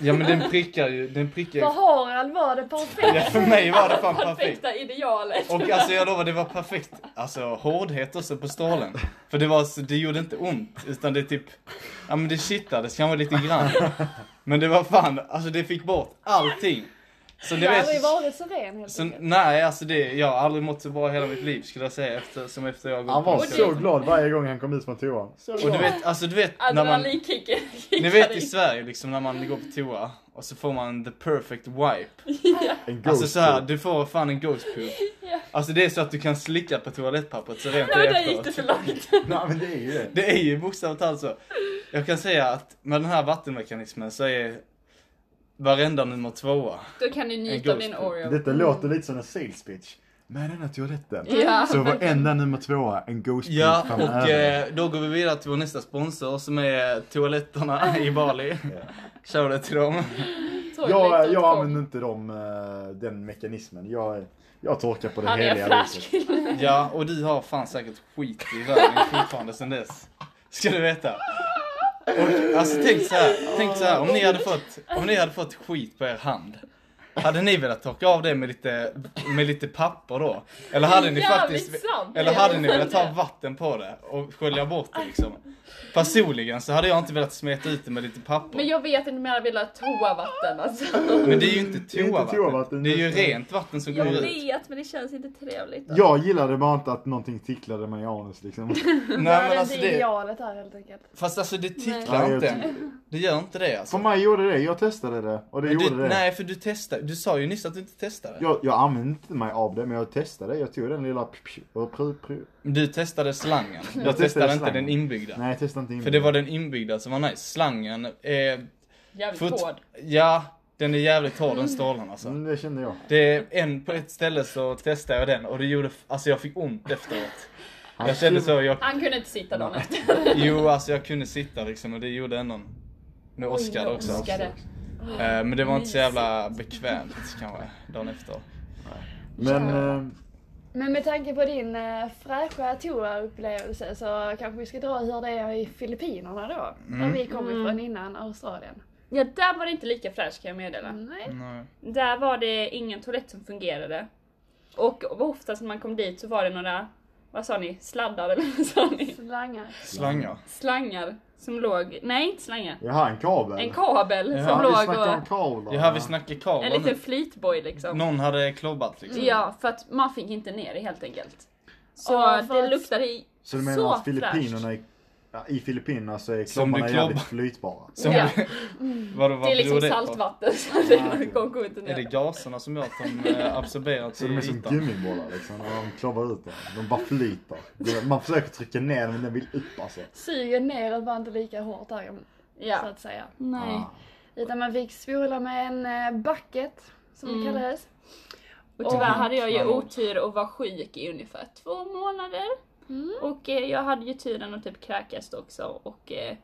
Ja men den prickar ju, den prickar ju. För Harald var det perfekt. Ja, för mig var det fan perfekt. Perfekta idealet. Och alltså jag lovar, det var perfekt. Alltså hårdhet också på strålen. För det var så, det gjorde inte ont. Utan det typ, ja men det kittades kanske lite grann. Men det var fan, alltså det fick bort allting. Så det Jag har aldrig var varit så ren helt så, enkelt. nej alltså det, jag har aldrig mått så bra i hela mitt liv skulle jag säga efter, som efter jag gått Han var på så toaletten. glad varje gång han kom ut från toan. Så glad. Och du vet, alltså du vet när man, Adrenalinkicken ni vet i Sverige liksom när man går på toa och så får man the perfect wipe. en ghost Alltså så här, tour. du får fan en ghost poop. Alltså det är så att du kan slicka på toalettpappret så rent Nej men är där gick det efteråt. för långt. Nej men det är ju det. Det är ju bokstavligt talat så. Jag kan säga att med den här vattenmekanismen så är varenda nummer tvåa. Då kan du njuta En av din ghost. Oreo. Detta låter lite som en sales pitch. Med den här toaletten. Ja. Så varenda nummer tvåa en ghost Ja, poop och framöver. eh, då går vi vidare till vår nästa sponsor som är toaletterna i Bali. Shoutout till dem. Jag, Toilet.com. jag använder inte de, eh, den mekanismen. Jag, jag torkar på det Han är heliga fräsch. viset. Ja, och du har fan säkert skit i röven fortfarande sen dess. Ska du veta. Och, alltså tänk så här, tänk så här om, ni hade fått, om ni hade fått skit på er hand. Hade ni velat torka av det med lite, med lite papper då? Eller hade ni Jävligt faktiskt... sant. Eller hade ni velat ta vatten på det och skölja bort det liksom? Personligen så hade jag inte velat smeta ut det med lite papper. Men Men, jag vet inte om jag hade velat toavatten alltså. det är ju inte Det är inte toavatten. toavatten, Det är ju just det. rent vatten som Jag går ut. vet men det känns inte trevligt. Jag gillade bara inte att någonting ticklade mig i anus liksom. Nej det men är alltså inte det... idealet här helt enkelt. Fast alltså det Nej. ticklar inte. Det gör inte det alltså. För mig gjorde det, jag testade det. Och det Men gjorde du, det. Nej, för du testade. Du sa ju nyss att du inte testade. Jag, jag använde inte mig av det, men jag testade. det. Jag tog den lilla pju- pju- och pru, pru. Du testade slangen. Du Jag testade, testade inte slangen. den inbyggda. Nej, jag testade inte in För det var den inbyggda som var nice. Slangen är... Jävligt fort- hård. Ja, den är jävligt hård den strålen alltså. Mm, det kände jag. Det är en, på ett ställe så testade jag den och det gjorde, alltså jag fick ont efteråt. Jag kände så, jag, Han kunde inte sitta dagen efter. jo alltså jag kunde sitta liksom och det gjorde ändå en- Nu Oscar jag också. åskade. Eh, Men det var inte så jävla bekvämt kanske, dagen efter. Men eh, Men med tanke på din eh, fräscha toaupplevelse så kanske vi ska dra hur det är i Filippinerna då. Mm. Där vi kom ifrån innan Australien. Ja där var det inte lika fräscht kan jag meddela. Nej. Nej. Där var det ingen toalett som fungerade. Och oftast när man kom dit så var det några, vad sa ni, sladdar eller vad sa ni? Slangar. Slangar. Slangar som låg, nej inte slangar. jag har en kabel. En kabel Ja, som Ja, vi låg snackar om och kablar. Ja, vi snackar en kablar liten nu. flytboj liksom. Någon hade klobbat liksom. Ja, för att man fick inte ner det helt enkelt. Så Ja, för det att- luktade i Så du menar så att fräscht. Filippinerna är, ja, i Filippinerna så är Som du klobbarna jävligt klobbar. flytbara? Som, Ja. vadå, vad Det är liksom beror det på? saltvatten så Ah, det okej. går går inte Är det ner. gaserna som gör att de eh, absorberas Så i de är som ytan? gummibollar liksom, när de klobbar ut dem. De bara flyter. Det- Man försöker trycka ner dem men den vill upp alltså. Suger neråt var inte lika hårt där så Ja. att säga. Nej. Ah. Utan man fick spola med en eh, bucket som det kallades. Och tyvärr hade jag ju Mm. otur och var sjuk i ungefär två månader. Och eh, jag hade ju turen att typ kräkas också och eh,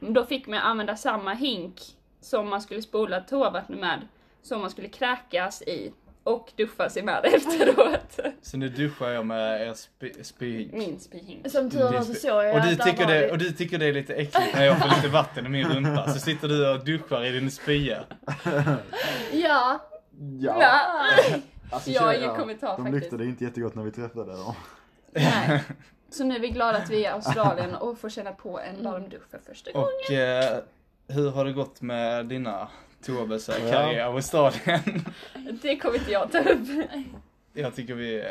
då fick man använda samma hink som man skulle spola toavattnet med, som man skulle kräkas i och duscha sig med efteråt. Så nu duschar jag med er sp- spyhink. Min spyhink. Som tur var så såg jag Mm, Och du, att där tycker var det, och du tycker det är lite äckligt när jag får lite vatten i min rumpa, så sitter du och duschar i din spya. Ja. Ja. Nej. Alltså, Jag har ingen tjejer, kommentar De faktiskt. lyfte det inte jättegott när vi träffade dem. Nej. Så nu är vi glada att vi är i Australien och får känna på en varm dusch för första gången. Och eh, hur har det gått med dina toabesök Ja. här i Australien? Det kommer inte jag ta upp. Jag tycker vi eh,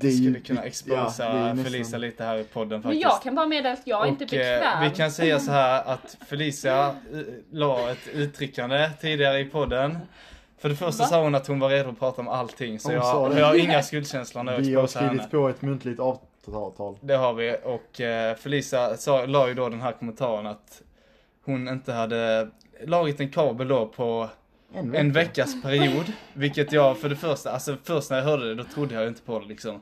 Det är ju- skulle kunna exposa ja, det är nästan- Felicia lite här i podden Men faktiskt. jag kan bara meddela att jag är inte Och, eh, bekväm. vi kan säga så här att Felicia eh, la ett uttryckande tidigare i podden. För det första Va? sa hon att hon var redo att prata om allting så Hon jag, sa det. jag har inga skuldkänslor när jag Vi har exposar henne. skrivit på ett muntligt avtal. Det har vi och eh, Felicia sa, la ju då den här kommentaren att hon inte hade lagit en kabel då på en veckas period. Vilket jag för det första, alltså först när jag hörde det då trodde jag inte på det liksom.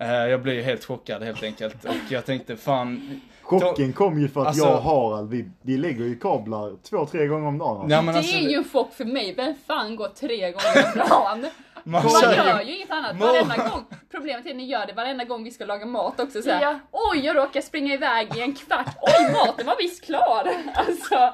Eh, Jag blev ju helt chockad helt enkelt och jag tänkte fan, Chocken kom ju för att Alltså- jag och Harald, vi, vi lägger ju kablar två, tre gånger om dagen. nej men det alltså, är ju en chock för mig. Vem fan går tre gånger om dagen? man Man kör gör ju, ju inget annat Må- varenda gång. Problemet är att ni gör det varenda gång vi ska laga mat också. Så här, Ja. Oj, jag råkar springa iväg i en kvart. Oj, maten var visst klar. Alltså,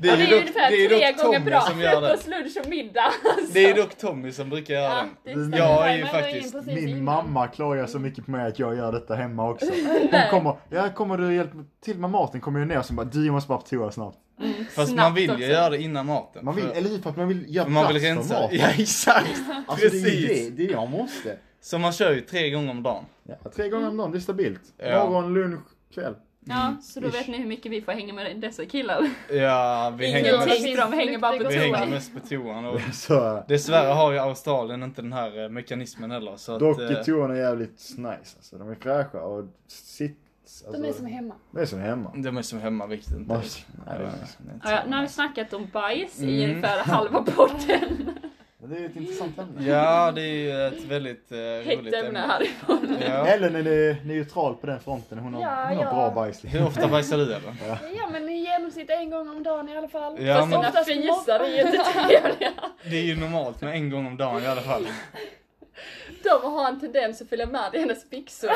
det är ju dock, dock, ungefär det är tre dock gånger Tommy bra. som gör det. Frukost, lunch och middag. Alltså, Det är ju dock Tommy som brukar göra den. det stämmer. Jag är ju Timern går in faktiskt- precis Min innan. mamma klagar så mycket på mig att jag gör detta hemma också. Hon kommer, ja kommer du hjälpa till med maten? Kommer jag ner och sen bara, du jag måste bara på toa snabbt. Fast Snabbt man vill ju också. göra det innan maten. Man vill, för, eller hur, för att man vill göra man vill plats för rensa. maten. Ja exakt! Alltså det är ju precis. det, det är jag måste. Så man kör ju tre gånger om dagen. Ja, tre gånger om dagen, det är stabilt. Ja. Mm. Morgon, lunch, kväll. Ja, så då Ish. vet ni hur mycket vi får hänga med dessa killar. Ja, vi Ingen hänger, tid. mest, de hänger bara på vi Flyktig hänger gång. mest på toan och Så, eh, dessvärre har ju Australien inte den här eh, mekanismen heller så dock att... eh, är toorna jävligt nice alltså. De är fräscha och sitt... Alltså, De är som hemma. de är som hemma. De är som hemma, vilket inte Man, är. nej, det, är nice. Ja, ja, nu har vi snackat om bajs i Mm. ungefär halva podden. Men det är ett intressant ämne. Ja, det är ju ett väldigt eh, roligt Hett ämne ämne. härifrån. Ja. Ellen är ne- neutral på den fronten. Hon har, Ja, hon har ja. bra bajs. liksom. Hur ofta bajsar du eller? Ja men i genomsnitt en gång om dagen i alla fall. Ja, Fast men- dina Oftast fisar är morgon. jättetrevliga. Det är ju normalt med en gång om dagen i alla fall. De har en tendens att följa med i hennes byxor.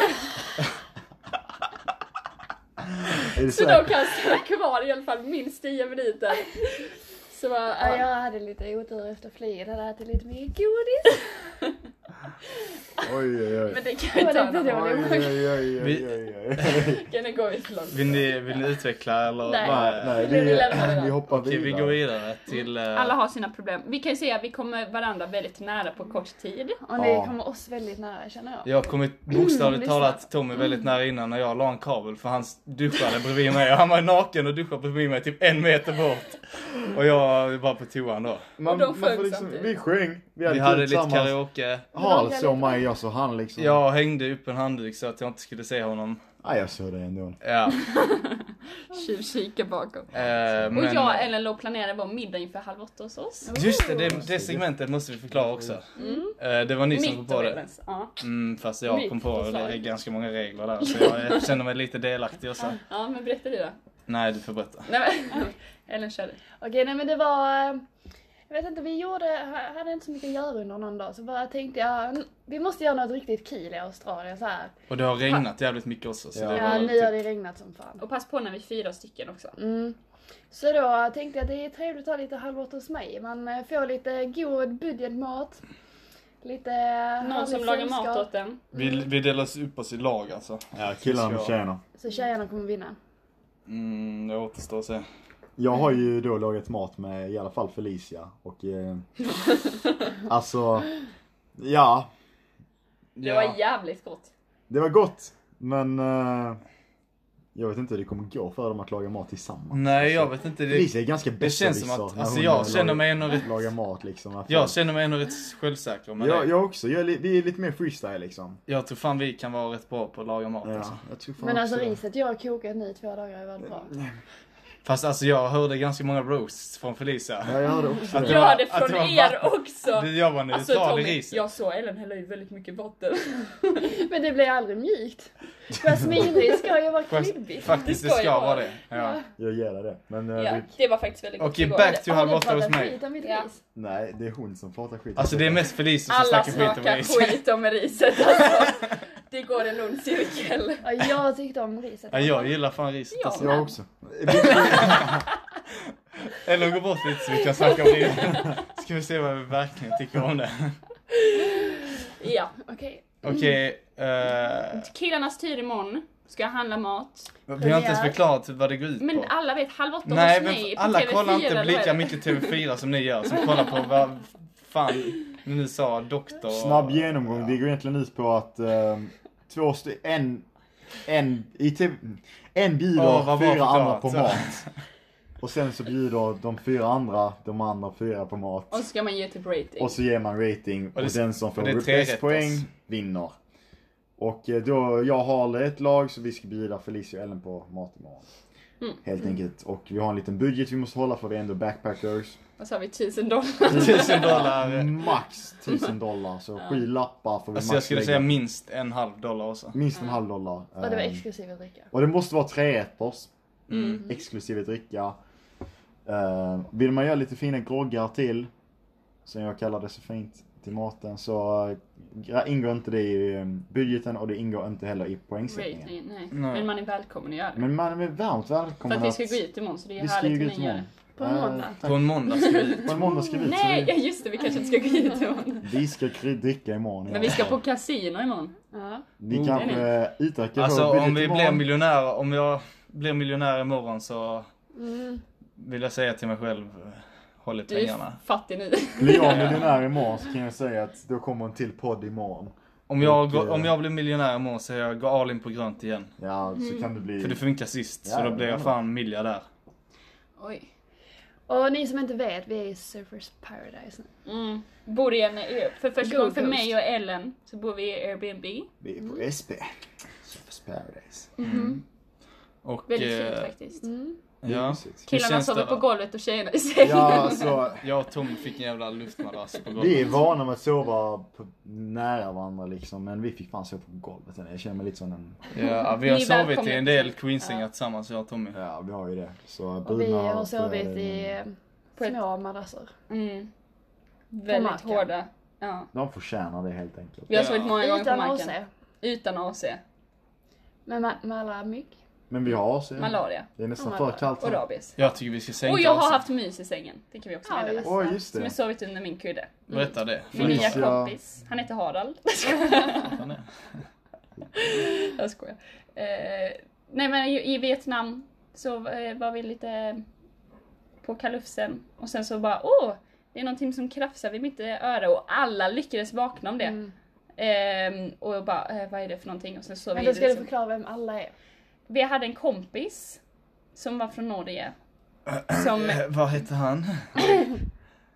Är det Så de säkert? kan stanna kvar i alla fall minst 10 minuter. Så, Ja, äh, jag hade lite otur efter flyget, hade ätit lite mycket godis. Oj, oj, oj. men det kan ju ta en annan Oj, oj, oj, oj, oj, oj. vecka, nu går vi för långt. Vill ni, vill ni utveckla eller? Nej. Nej, nej, Nu lämnar vi vi, den. vi hoppar Okej, vi vidare. går vidare till... eh, Alla har sina problem. Vi kan ju säga att vi kommer varandra väldigt nära på kort tid. Och ni Ja. kommer oss väldigt nära känner jag. Jag har kommit bokstavligt Mm, lyssna. talat Tommy väldigt nära innan när jag la en kabel för han duschade bredvid mig och han var naken och duschade bredvid mig typ en meter bort. Och jag var på toan då. Man, Och de man sjöng får liksom, samtidigt. vi sjöng. Vi Vi hade, hade kul lite tillsammans. Mm. karaoke. Harald såg mig, jag såg han liksom. Jag hängde upp en handduk så att jag inte skulle se honom. Nej, jag såg dig ändå. Ja. Tjuvkika eh, bakom. Och men, jag och Ellen låg och planerade vår middag inför halv åtta hos oss. Just det, det, det segmentet måste vi förklara också. Mm. Eh, Det var ni som kom Mitt på och det. Ellens. Ja. Mm, fast jag Mitt kom på det. det är förslag. ganska många regler där så jag känner mig lite delaktig också. ja, men berätta du då. Nej, du får berätta. Nej, men, Ellen körde. Okej, nej men det var... eh, Jag vet inte, vi gjorde, ha- hade inte så mycket att göra under någon dag så bara tänkte jag, "Mm, vi måste göra något riktigt kul i Australien så här. Och det har regnat jävligt mycket också så Ja. det var Ja, väl nu har typ... det regnat som fan. Och pass på när vi är fyra stycken också. Mm. Så då tänkte jag att det är trevligt att ha lite Halv åtta hos mig. Man eh, får lite god budgetmat. Lite Någon som härligt lagar sällskap. mat åt den. Vi, vi delas upp oss i lag alltså. Ja, killarna med tjejerna. Så tjejerna kommer vinna. Mm, det återstår att se. Jag har ju då lagat mat med i alla fall Felicia och eh, alltså, ja, Det var jävligt gott. det var gott men eh, jag vet inte hur det kommer gå för dem att laga mat tillsammans. Alltså, Nej, jag vet inte. Det, Felicia är ganska det känns som besserwisser att, när alltså hon jag lagar- känner mig ändå rätt, Laga mat liksom. jag känner mig ändå rätt självsäker med jag, det. jag också, jag är, li- vi är lite mer freestyle liksom. Jag tror fan vi kan vara rätt bra på att laga mat alltså. Ja, jag tror fan Men alltså också det. riset jag har kokat nu i två dagar är väldigt bra. Mm, Fast alltså jag hörde ganska många roasts från Felicia. Ja, jag hörde också Att det. var- Gör det att från det var er vatten. också! Du, Jag var neutral Alltså i Tommy, riset. jag såg Ellen hälla i väldigt mycket vatten. Men det blir aldrig mjukt. Jasminris ska ju vara Fast- klibbigt. Faktiskt, det Det ska ska jag vara vara. det. Ja. Jag gillar det. Men eh, Ja, vi, det var faktiskt väldigt gott. Okej, igår. back to Har halv ni åtta hos pratat mig. skit om mitt Ja. ris? nej det är hon som pratar skit. Alltså det är mest Felicia som Alla snackar skit om snackar riset. skit om riset alltså. Det går en ond cirkel. Ja, jag tyckte om riset. Ja, jag gillar fan riset Ja. alltså. Jag också. Eller gå bort lite så vi kan snacka om det. Ska vi se vad vi verkligen tycker om det. Ja. Okej. Mm. Okej, eh, Killarnas tur imorgon. Ska jag handla mat. vi har inte ens förklarat typ vad det går ut Men på. alla vet, Halv åtta Nej, hos mig men på alla TV4, kollar inte eller lika vad är det? mycket TV4 som ni gör, som kollar på vad fan ni nu sa, doktor. Snabb genomgång, det går egentligen ut på att eh, två st- en, en, i TV, en bjuder Åh, vad bra fyra andra förklarat. på mat. Och sen så bjuder de fyra andra de andra fyra på mat. Och så ska man ge typ rating. Och så ger man rating och, det- den som det är får tre bäst rätt, poäng alltså. vinner. Och eh, då, jag har ett lag så vi ska bjuda Felicia och Ellen på mat imorgon. Mm. Helt enkelt. Och vi har en liten budget vi måste hålla för vi är ändå backpackers. Vad sa vi? Tusen dollar? Tusen Mm, dollar. Max 1000 dollar. Så sju lappar får vi eh, Alltså jag max Mm, skulle lägga. säga minst en halv dollar också. Minst en halv dollar. Och det var Ehm, exklusive dricka. och det måste vara trerätters. Mm. Exklusive dricka. Ehm, vill man göra lite fina groggar till, som jag kallar det så fint, till maten så eh, ingår inte det i eh, budgeten och det ingår inte heller i poängsättningen. Rating, nej. Nej. Men man är välkommen att göra det. Men man är varmt För välkommen att vi ska gå ut imorgon så det är Vi ska ju härligt gå att ut ni gör imorgon. det. På en Eh, måndag. tack. På en måndag ska vi ut. På en måndag ska vi ut. så Nej, ja, vi- just det. Vi kanske inte ska gå hit imorgon. Vi ska kry- dricka imorgon. Men vi ska på kasino imorgon. Ja. Ni Oh. kanske eh, utökar Alltså vår budget om vi blir imorgon. miljonärer, om jag blir miljonär imorgon så vill jag säga till mig själv, eh, håll i Mm. Du är pengarna. fattig nu. Blir jag miljonär imorgon så kan jag säga att då kommer en till podd imorgon. Om jag, Och, går, eh, om jag blir miljonär imorgon så är jag går all in på grönt igen. Ja, Mm. så kan det bli... För det funkar sist, så Ja, då blir jag ja. fan miljardär. Oj. Och ni som inte vet, vi är i Surfers Paradise nu. Mm. Bor i en, för första Gold gången för Coast. mig och Ellen så bor vi i Airbnb. Vi är på SP. Surfers Paradise. Och... Väldigt eh, fint faktiskt. Det är Ja. mysigt. Hur Mm. Killarna känns sover det på då? golvet och tjejerna i sängen. Mm, Ja, alltså. Jag och Tom fick en jävla luftmadrass på Vi är golvet. vana med att sova på nära varandra liksom, men vi fick fan sova på golvet. Jag känner mig lite som en... Ja, vi Ni har sovit är i välkomna. en del queensängar tillsammans jag och Tommy. Ja, vi har ju det. Så Och vi bruna har och flera sovit i delar. eh, På ett- små madrasser. Mm. Väldigt marken. hårda. Ja. De förtjänar det helt enkelt. Vi har Ja. Mm. sovit många gånger på Utan marken. AC. Utan AC. Men med, med alla mygg. Men vi har så Malaria. Det är nästan Ja, för malaria. kallt. Och rabies. Jag tycker vi ska sänka Och jag har oss. haft mys i sängen. Det kan vi också Ja, meddela. just- Åh, just Som jag det. sovit under min kudde. Berätta det. Mm. Min nya Felicia. kompis. Han heter Harald. Jag skojar. Eh, nej men i, i Vietnam så eh, var vi lite på kalufsen och sen så bara åh, det är någonting som krafsar vid mitt eh, öra och alla lyckades vakna om det. Mm. Eh, och jag bara, eh, vad är det för någonting? Och sen så vi, Men då ska du liksom, förklara vem alla är. vi hade en kompis som var från Norge. Som Eh, Vad heter han?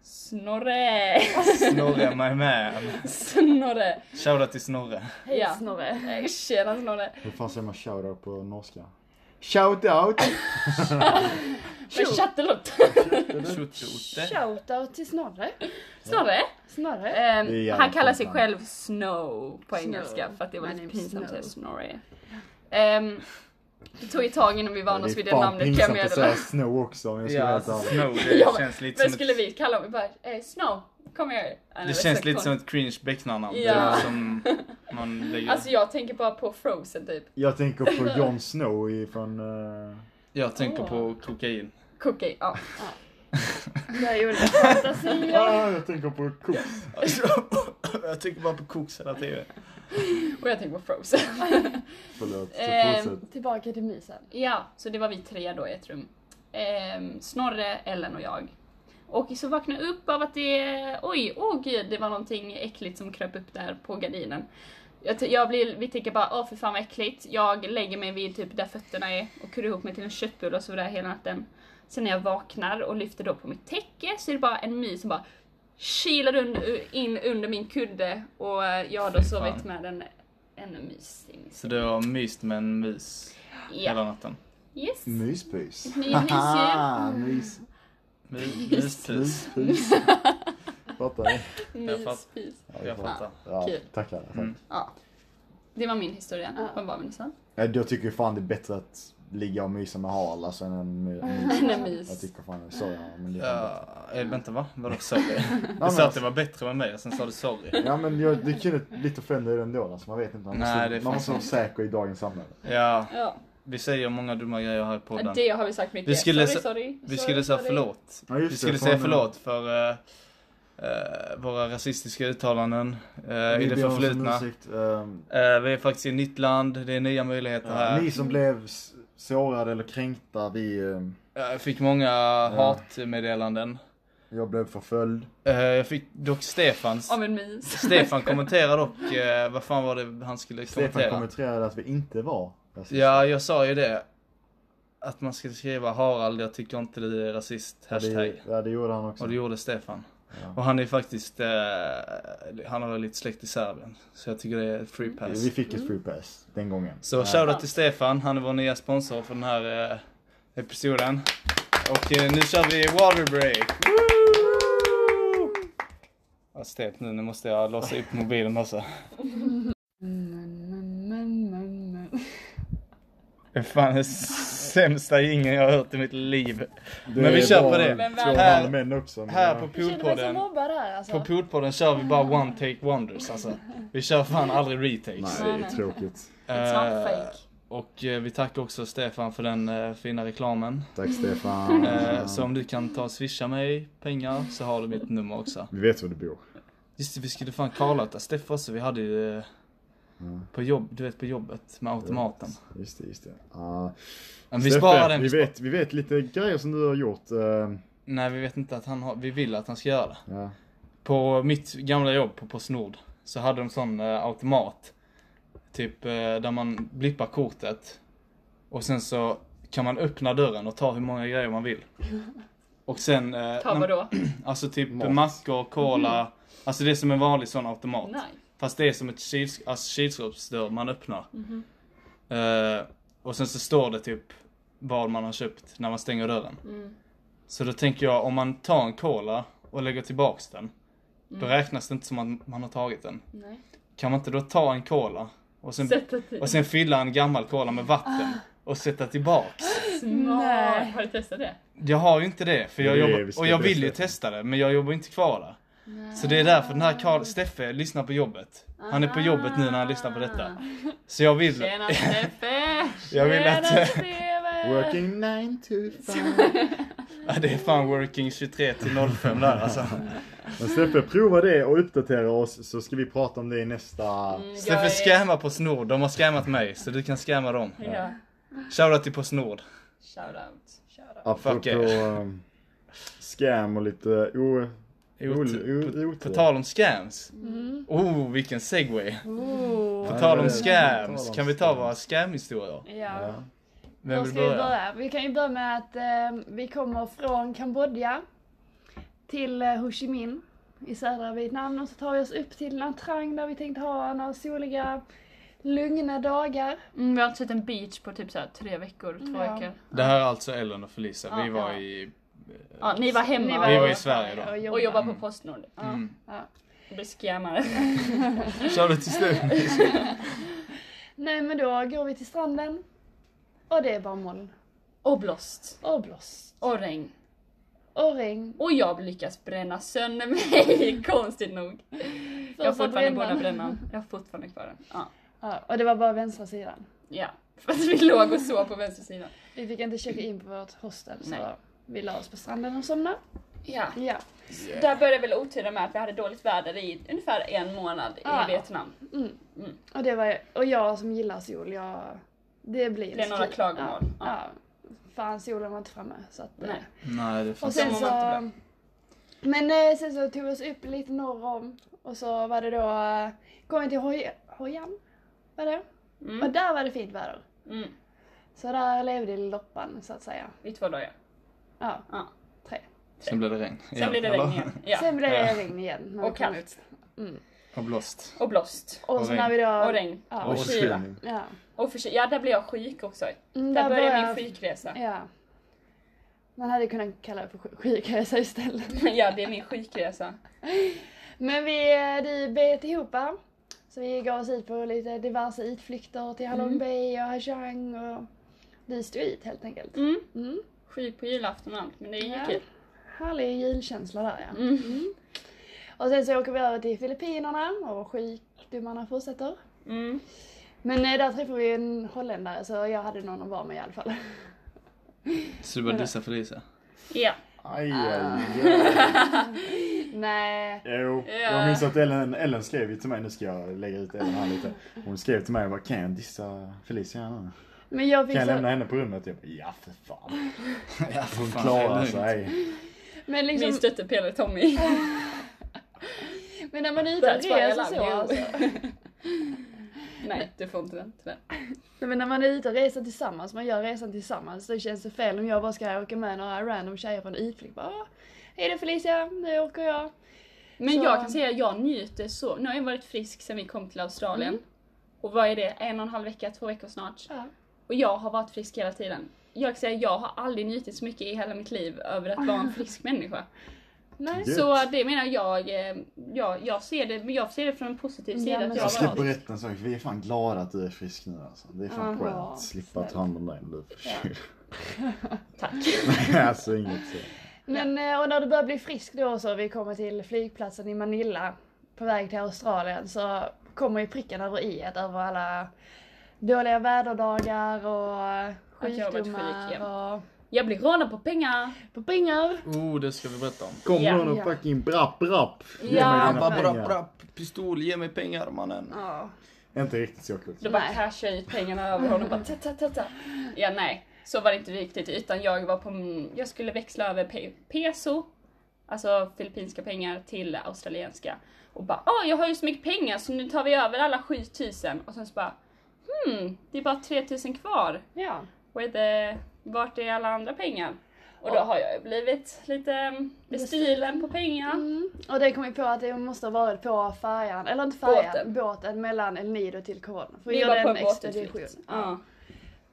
Snorre. Snorre my man. Snorre. Shoutout till Snorre. Hej Ja. Snorre. Eh, Tjena Snorre. Hur fan säger man shoutout på norska? Shoutout! Men Chattelott. Tjotjote. Shoutout till Snorre. Snorre. Snorre. Ehm, Det är jävligt han kallar sig pinsamt. själv Snow på engelska för att det var My lite name is pinsamt att Snow. säga Snorre. Ehm, det tog ett tag innan vi vande oss vid det namnet kan jag pinsamt att säga meddela. snow också om jag ska Ja, vara alltså helt ärlig. Snow, det men- känns lite Men som skulle ett... vi kalla honom bara eh, Snow, kom här. Han är Det väl känns så lite som konstig. ett cringe becknarnamn. Ja. Det är Som man lägger... Alltså jag tänker bara på Frozen typ. Jag tänker på Jon Snow ifrån... eh, Jag tänker på kokain. Cookie, ja. Eh, Där gjorde jag fantasier. Ah, jag tänker på Cooks. Jag tänker bara på koks hela tiden. Och jag tänker på Frozen. Förlåt, så Ehm, fortsätt. Tillbaka till mysen. ja, så det var vi tre då i ett rum. Ehm, Snorre, Ellen och jag. Och så vaknade jag upp av att det, oj, åh gud, det var någonting äckligt som kröp upp där på gardinen. Jag, t- jag blir, vi tänker bara, åh för fan vad äckligt. Jag lägger mig vid typ där fötterna är och kurrar ihop mig till en köttbulle och så där hela natten. Sen när jag vaknar och lyfter då på mitt täcke så är det bara en my som bara kilar und- in under min kudde och eh, jag har då Fy fan. sovit med en, en mys i min Så du har myst med en mus hela Ja, natten? yes. Myspys. Ni är mysdjur. Haha, mys, Mus- Muspus. myspys. Fattar ni? Jag fattar. Myspis. Jag fattar. Ja, Kul. tackar. tackar. Mm. Ja. Det var min historia. Ja. Vad var vi någonstans? Ja, Jag tycker fan det är bättre att ligga och mysa med hal alltså, än en my- mys. Än en mys. Jag tycker fan, sorry men det är fan Ja, eh, vänta va? Vadå sorry? Du men sa att alltså- det var bättre med mig och sen sa du sorry. bättre. Ja men jag, det kunde lite offenda er ändå alltså, man vet inte. Man måste, Nej, det är man fan måste vara säker i dagens samhälle. Ja, Ja, vi säger många dumma grejer här i podden. det har vi sagt mycket. Vi skulle sorry, sä- sorry. Vi skulle säga förlåt. Ja, just Vi det, skulle fan, säga men- förlåt för eh, eh, våra rasistiska uttalanden eh, Vi i det ber om förflutna. ursäkt, ehm, Eh, vi är faktiskt i ett nytt land, det är nya möjligheter här. Ni som blev s- sårade eller kränkta, vi, ehm, Jag fick många hatmeddelanden. jag blev förföljd. Eh, jag fick dock Stefans. Av en mus. Stefan kommenterade dock, eh, vad fan var det han skulle Stefan kommentera? kommenterade att vi inte var rasister. Ja, jag sa ju det. Att man ska skriva Harald, jag tycker inte du är rasist, Ja, hashtag. Det, ja, det gjorde han också. Och det gjorde Stefan. Ja. Och han är faktiskt, eh, han har lite släkt i Serbien. Så jag tycker det är ett free pass. Mm. Vi fick ett free pass den gången. Så shoutout till Stefan, han är vår nya sponsor för den här eh, episoden. Och eh, nu kör vi Waterbreak! Vad stelt nu, nu måste jag låsa upp mobilen också. Mm, Det är fan den sämsta jingeln jag har hört i mitt liv. Det Men vi är kör på bara det. Men Två här- här, män också. men Här ja. på Jag känner mig så Poolpodden, mobbad här alltså. på Poolpodden kör vi bara one take wonders alltså. Vi kör fan aldrig retakes. Nej, det är tråkigt. It's eh, not fake. och eh, vi tackar också Stefan för den eh, fina reklamen. Tack Stefan. Eh, Så om du kan ta och swisha mig pengar så har du mitt nummer också. Vi vet var du bor. Just det, vi skulle fan kallata Steff också. Vi hade ju eh, på jobb, du vet på jobbet med automaten. Just det, just det. Ja. Men vi Steffe, sparar den. Vi Vi spar- vet, vi vet lite grejer som du har gjort. eh, Nej, vi vet inte att han har, vi vill att han ska göra det. ja. På mitt gamla jobb på Postnord så hade de sån eh, automat. Typ eh, där man blippar kortet. Och sen så kan man öppna dörren och ta hur många grejer man vill. Och sen... Eh, Ta när- vadå? Alltså typ Mat. mackor, cola. Alltså det är som en vanlig sån automat. Nej. Fast det är som ett kyls alltså kylskåpsdörr man öppnar. Eh, och sen så står det typ vad man har köpt när man stänger dörren. Mm. Så då tänker jag om man tar en cola och lägger tillbaks den. Då räknas det inte som att man har tagit den. Nej. Kan man inte då ta en cola och sen, Sätta till. och sen fylla en gammal cola med vatten och sätta tillbaks? Smart. Har du testat det? Jag har ju inte det, för jag Nej, jobbar, vi ska och jag vill ju testa. testa det, men jag jobbar inte kvar där. Så det är därför den här Karl Steffe lyssnar på jobbet. Han är på jobbet nu när han lyssnar på detta. Så jag vill, Tjena Steffe! jag vill Tjena, att, Steve! Working 9 to 5. ja, det är fan working 23 till 05 där alltså. Men Steffe, prova det och uppdatera oss så ska vi prata om det i nästa... Steffe Jag är- scammar på Snord, de har scammat mig, så du kan scamma dem. Ja. Shoutout till på Snord. Shoutout. Shoutout. Fuck Apropå yeah. eh, scam och lite o... Ol- o- På, otur. på tal om scams. Mm. Oh, vilken segway. På Ja, tal det om är- scams, på tal kan om vi ta scams. våra scamhistorier? Ja. Ja. Vem Var vill ska vi börja? börja? Vi kan ju börja med att eh, vi kommer från Kambodja till eh, Ho Chi Minh i södra Vietnam och så tar vi oss upp till Nha Trang där vi tänkte ha några soliga, lugna dagar. Mm, vi har inte sett en beach på typ så här tre veckor, två Ja. veckor. Det här är alltså Ellen och Felicia, vi Ja, var ja. i... Ja, ni var hemma Ni Vi var i och, Sverige då. och jobbade Mm. på Postnord. Ja. Mm. Blev scammade. Shoutout till Steffe. Nej men då går vi till stranden och det är bara moln Och blåst. och blåst Och regn. och regn. Och jag lyckas bränna sönder mig, konstigt nog. Jag har Första fortfarande brännan. båda brännan. Jag har fortfarande kvar den. Ja. Ja, och det var bara vänstra sidan. ja. För att vi låg och sov på vänster sida. Vi fick inte checka in på vårt hostel så Nej. vi la oss på stranden och somnade. Ja. Ja. Där började väl oturen med att vi hade dåligt väder i ungefär en månad Ja. i Vietnam. Mm. Mm. Och, det var, och jag som gillar sol, jag, det blir Det är några kul. klagomål. Ja, Ja. ja. Fan, solen var inte framme. Så att, eh, Nej. Nej, det Och fanns så sen mår så, man inte men eh, sen så tog vi oss upp lite norr om och så var det då, eh, kom vi till Hoi- Hojan, var det? Mm. Och där var det fint väder. Mm. Så där levde loppan så att säga. I två dagar. Ja, Ja. tre. Sen blev det regn. Sen blev det regn igen. Ja. Sen blev det regn igen. när vi Och kom kallt. ut. Mm. Och blåst. Och blåst. Och, Och så regn. när vi då... Och regn. Ja. Och kyla. Förkylning. Ja. Och förkyld. Ja, där blev jag sjuk också. Mm, Där började min började- sjukresa. Ja. Man hade kunnat kalla det för sjuk- sjukresa istället. Ja, det är min sjukresa. Men vi, eh, vi bet ihop. Så vi gav oss ut på lite diverse utflykter till Halong Mm. Bay och Hajang och vi stod ut helt enkelt. Mm. Mm. Sjuk på julafton och allt, men det gick Ja. kul. Härlig julkänsla där ja. Mm. Och sen så åker vi över till Filippinerna och sjukdomarna fortsätter. Mm. Men eh, där träffade vi en holländare så jag hade någon att vara med i alla fall. Så du började dissa Felicia? Ja. Ah. Aj, aj, aj. Nej. Jo, jag minns att Ellen, Ellen skrev ju till mig, nu ska jag lägga ut Ellen här lite. Hon skrev till mig och bara, kan jag dissa Felicia nu? Men jag fick Kan jag lämna så, henne på rummet? Jag bara, ja för fan. Ja, Alltså, hon fan, klarar lugnt. sig. men Min liksom, stöttepelare Tommy. men när man är ute och That's why I reser så love you. alltså. Nej, du får inte den tyvärr. Nej, men när man är ute och reser tillsammans, man gör resan tillsammans, då känns det fel om jag bara ska åka med några random tjejer på en utflykt. Bara, "Ah, hej då Felicia, nu åker jag. Men Så- jag kan säga att jag njuter så. Nu har jag varit frisk sen vi kom till Australien. Och vad är det? En och en halv vecka, två veckor snart. Mm. Ja. Och jag har varit frisk hela tiden. Jag kan säga att jag har aldrig njutit så mycket i hela mitt liv över att vara en frisk människa. Nej. Gött. Så det menar jag, eh, jag, jag, ser det, men jag ser det från en positiv Ja, sida. men att så- jag Jag har släpper varit. rätt en sak, vi är fan glada att du är frisk nu alltså. Det är fan Aha, skönt. Slippa snällt. ta hand om dig när du är förkyld. Tack. alltså inget så. Men eh, och när du börjar bli frisk då så, vi kommer till flygplatsen i Manila på väg till Australien så kommer ju pricken över i att över alla dåliga väderdagar och Att jag har varit sjuk, sjukdomar och Jag blir rånad på pengar. på pengar. Oh, det ska vi berätta om. Kommer Ja. någon och fucking brapp brapp. Ge Ja. mig dina Abba, brapp, pengar. brapp, pistol, ge mig pengar mannen. Ja. Inte riktigt så klokt. Då bara Nej. cashar jag ut pengarna över honom och bara ta, ta, ta, ta. Ja, nej. Så var det inte riktigt utan jag var på, mm, jag skulle växla över pe- peso, alltså filippinska pengar till australienska. Och bara, ah jag har ju så mycket pengar så nu tar vi över alla 7000 och sen så bara, hmm, det är bara 3000 kvar. ja. Where the, vart är alla andra pengar? Och då har jag ju blivit lite mm, bestulen på pengar. Mm. Och det kom vi på att det måste ha varit på färjan, eller inte färjan, båten, Båten. mellan El Nido till Corona. För vi Vi gjorde var på en en extra båtutflykt. division. Ja.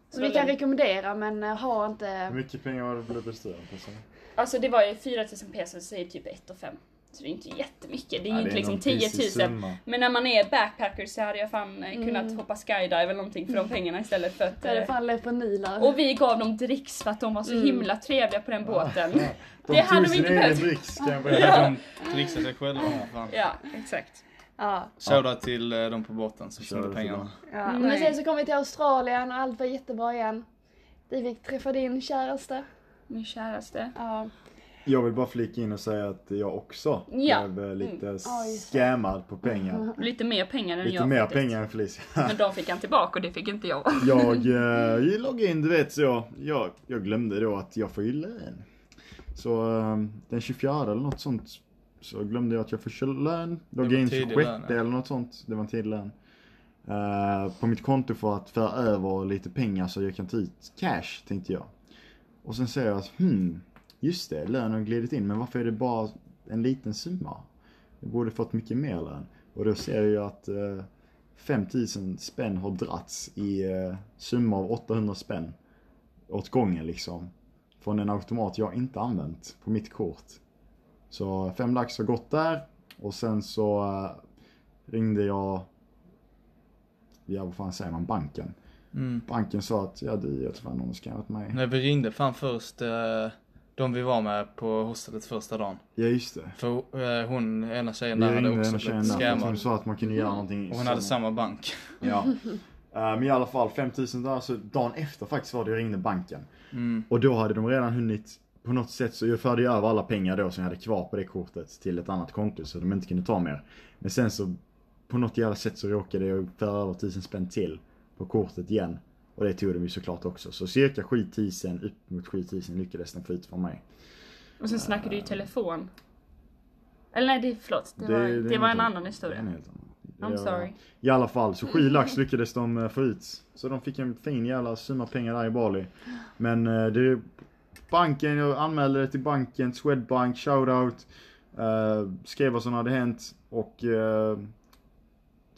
Så vi kan rekommendera men eh, ha Hur inte... mycket pengar har du blivit bestulen på? sen? Alltså det var ju 4000 pesos, så är det typ 1 och 5. Så det är inte jättemycket, det är ju Ja, inte liksom någon 10 pissig 000. summa. Men när man är backpacker så hade jag fan eh, kunnat hoppa skydive eller någonting för de pengarna istället för att... Mm. Det är eh, fan Mm. lepaniler. Och vi gav dem dricks för att de var så himla trevliga på den båten. De Det hade tog vi sin inte egen behövt. dricks kan jag berätta. De dricksade sig själva. fan. Ja, exakt. Ja. Shoutout till eh, de på båten som Shoutout snodde till pengarna. Ja. Nej. Men sen så kom vi till Australien och allt var jättebra igen. Vi fick träffa din käraste. Min käraste. Ja. Jag vill bara flika in och säga att jag också Ja. blev eh, lite Ja, just scammad på pengar. Lite mer pengar än Lite jag mer faktiskt. pengar än Felicia. Men de fick han tillbaka och det fick inte jag. Jag eh, loggade in, du vet, så jag, jag, jag glömde då att jag får ju lön. Så eh, den 24 eller något sånt så glömde jag att jag får kö- lön. Det Loggade var in tidig 26 lön, ja. eller något sånt. Det var en tidig lön. Eh, på mitt konto för att föra över lite pengar så jag kan ta ut cash, tänkte jag. Och sen säger jag att hmm, just det, lönen har glidit in, men varför är det bara en liten summa? Jag borde fått mycket mer lön. Och då ser jag att eh, 5000 spänn har drats i eh, summa av 800 spänn åt gången liksom. Från en automat jag inte använt på mitt kort. Så fem lax har gått där och sen så eh, ringde jag, ja vad fan säger man, banken. Mm. Banken sa att ja du, jag tror fan någon har scammat mig. När vi ringde fan först eh, de vi var med på hostelet första dagen. Ja just det. För eh, hon, ena tjejen Vi där hade ringde också en tjej blivit där för att hon scammad. Mm. sa att man kunde göra någonting. i Och hon hade samma bank. Ja. Eh, Men i alla fall 5000 där, så dagen efter faktiskt var det jag ringde banken. Och då hade de redan hunnit på något sätt så jag förde ju över alla pengar då som jag hade kvar på det kortet till ett annat konto så de inte kunde ta mer. Men sen så på något jävla sätt så råkade jag föra över 1000 spänn till på kortet igen. Och det tog de ju såklart också. Så cirka 7000, upp mot 7000 lyckades de få ut från mig. Och sen snackade du i telefon. Eller nej, det, förlåt. Det, var, det, var en annan historia. I'm sorry. I alla fall, så 7 lax lyckades de eh, få ut. Så de fick en fin jävla summa pengar där i Bali. Men eh, det... Banken, jag anmälde det till banken, Swedbank, shoutout. Eh, skrev vad som hade hänt och... Eh,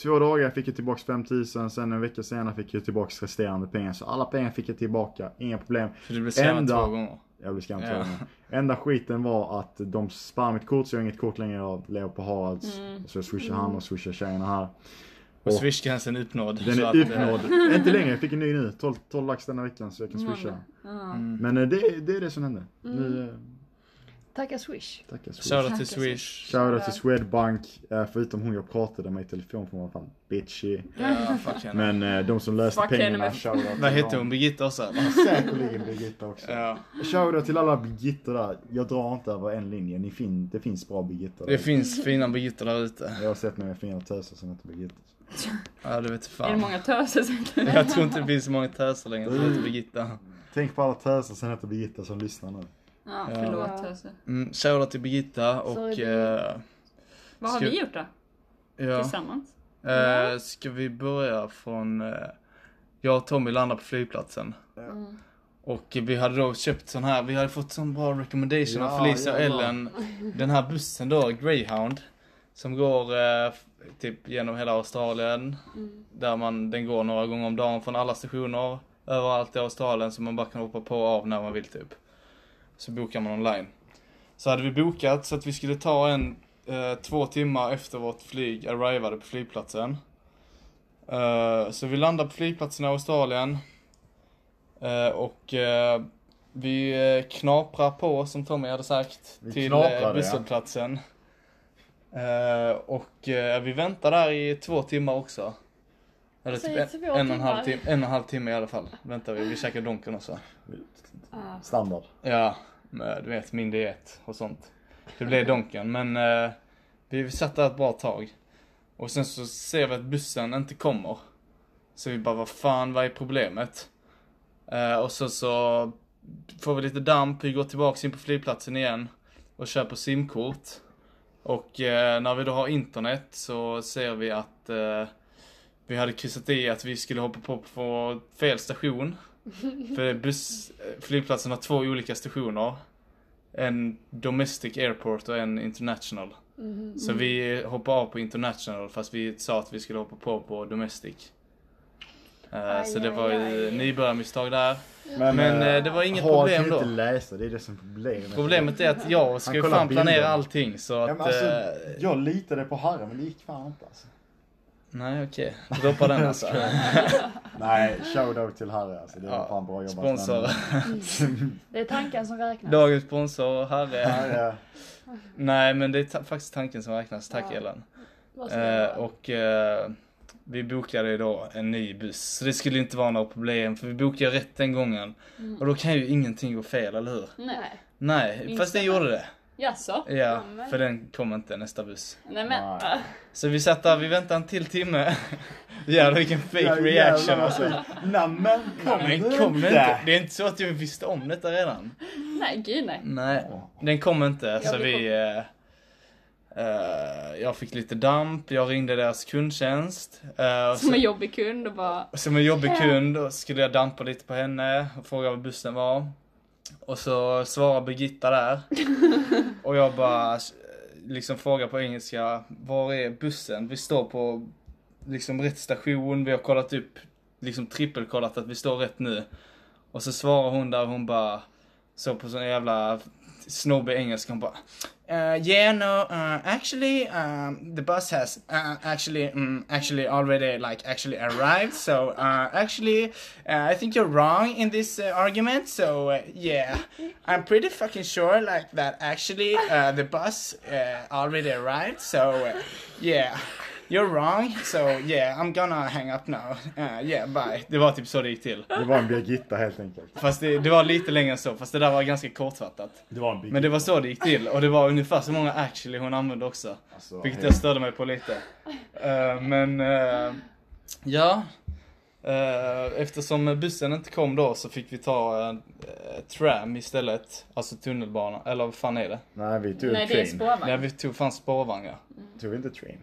två dagar fick jag tillbaks 5000, sen en vecka senare fick jag tillbaks resterande pengar. Så alla pengar fick jag tillbaka, inga problem. För du blev scammad Ända- två gånger. Jag blev skamsen. Ja. Enda skiten var att de spammade mitt kort så jag har inget kort längre. Jag lever på Haralds. Mm. Så jag swishar han och swishar tjejerna här. Och swishgränsen är uppnådd. Den Mm. så att, är eh, uppnådd. Inte längre, jag fick en ny nu. 12, Mm. 12 lax denna veckan så jag kan swisha. Ja. Mm. Men eh, det, det är det som hände. Nu, eh, Tacka Swish. Tackar Swish. Shoutout till Tack, Swish. Shoutout till Swedbank, eh, förutom hon jag pratade med i telefon för hon var fan bitchy. Ja, fuck henne. Men eh, de som löste Fuck henne pengarna, med- shoutout till Vad heter dem. hon? Birgitta också? eller? Säkerligen Birgitta också. Ja. Shoutout till alla Birgittor där. Jag drar inte över en linje, Ni fin- det finns bra Birgittor där. Det finns fina Birgittor där ute. Jag har sett några fina töser som heter Birgitta. Ja, det vet Är det fan. många töser som Jag tror inte det finns så många töser längre som heter Birgitta. Tänk på alla töser som heter Birgitta som lyssnar nu. Ja, Ja. förlåt Ja. töser. Mm, shoutout till Birgitta och... Sorry, eh, Vad har Ska- vi gjort då? ja. Tillsammans? Eh, ska vi börja från... eh, jag och Tommy landade på flygplatsen. Mm. Och vi hade då köpt sån här, vi hade fått sån bra recommendation av Ja, Felicia och jävlar. Ellen. Den här bussen då, Greyhound. Som går eh, f- typ genom hela Australien. Där man, den går några gånger om dagen från alla stationer. Överallt i Australien som man bara kan hoppa på och av när man vill typ. Så bokar man online. Så hade vi bokat så att vi skulle ta en eh, två timmar efter vårt flyg arrivade på flygplatsen. Eh, så vi landade på flygplatsen i Australien. Eh, och eh, vi eh, knaprar på som Tommy hade sagt Vi till knaprade, eh, ja. busshållplatsen. Eh, och eh, vi väntar där i två timmar också. Eller typ Säg en, två en, och en, halv timmar. timme, en och en halv timme i alla fall. Väntar vi, vi käkar Donken också. Ah. Standard. Ja, men du vet min diet och sånt. Det blev donken men eh, vi satt där ett bra tag. Och sen så ser vi att bussen inte kommer. Så vi bara, vad fan, vad är problemet? Eh, och så så får vi lite damp, vi går tillbaks in på flygplatsen igen och köper simkort. Och eh, när vi då har internet så ser vi att eh, vi hade kryssat i att vi skulle hoppa på på fel station. För buss, eh, flygplatsen har två olika stationer. En domestic airport och en international. Mhm. Så vi hoppade av på international fast vi sa att vi skulle hoppa på på domestic. Eh, Aj, så det aj, var ju aj. nybörjarmisstag där. Men, Men eh, eh, det var inget Har problem kan då. ju inte läsa, det är det som är problemet. Problemet är att jag ska Han ju kollar fan planera bilden. allting så Ja, att... men alltså, eh, jag litade på Harry men det gick fan inte alltså. Nej okej, droppa den alltså. Nej, shoutout till Harry alltså. Det var Ja, fan bra jobbat. Sponsor. Det är tanken som räknas. Dagens sponsor, Harry. Men, eh, Harry, Nej men det är ta- faktiskt tanken som räknas. Tack Ja. Ellen. Vad ska jag Eh, göra? och eh, vi bokade ju då en ny buss. Så det skulle inte vara några problem för vi bokade rätt den gången. Och då kan ju ingenting gå fel, eller hur? Nej. Nej, Minst fast den denna. gjorde det. Jaså? Ja, men- för den kom inte nästa buss. Nej men. ah, Nej. Så vi satt där, vi väntade en till timme. Jävlar vilken fake Ja, reaction jävlar, alltså. alltså. Nämen kom Men du kom den inte? inte? Det är inte så att jag visste om detta redan. Nej gud nej. Nej, den kom inte så blir vi... Eh, eh, jag fick lite damp, jag ringde deras kundtjänst. Eh, och Som så- en jobbig kund och bara. som en jobbig kund och skulle jag dampa lite på henne och fråga var bussen var. Och så svarar Birgitta där. Och jag bara eh, liksom frågar på engelska, var är bussen? Vi står på liksom rätt station, vi har kollat upp, liksom trippelkollat att vi står rätt nu. Och så svarar hon där, hon bara, så på sån jävla snobbig engelska, hon bara Uh, yeah, no, uh, actually, um, the bus has uh, actually, um, actually already, like, actually arrived. So, uh, actually, uh, I think you're wrong in this uh, argument. So, uh, yeah, I'm pretty fucking sure, like, that actually uh, the bus uh, already arrived. So, uh, yeah, you're wrong. So, yeah, I'm gonna hang up now. Uh, yeah, bye. Det var typ så det gick till. Det var en Birgitta helt enkelt. Fast det, det var lite längre än så, fast det där var ganska kortfattat. Det var en Birgitta. Men det var så det gick till och det var ungefär så många actually hon använde också. alltså, Vilket jag helt- störde mig på lite. Eh, men eh, ja. Eh, eftersom bussen inte kom då så fick vi ta en eh, tram istället. Alltså tunnelbana, eller vad fan är det? Nej vi tog Nej det är train. spårvagn. Nej vi tog fan spårvagnar. Tog vi inte train?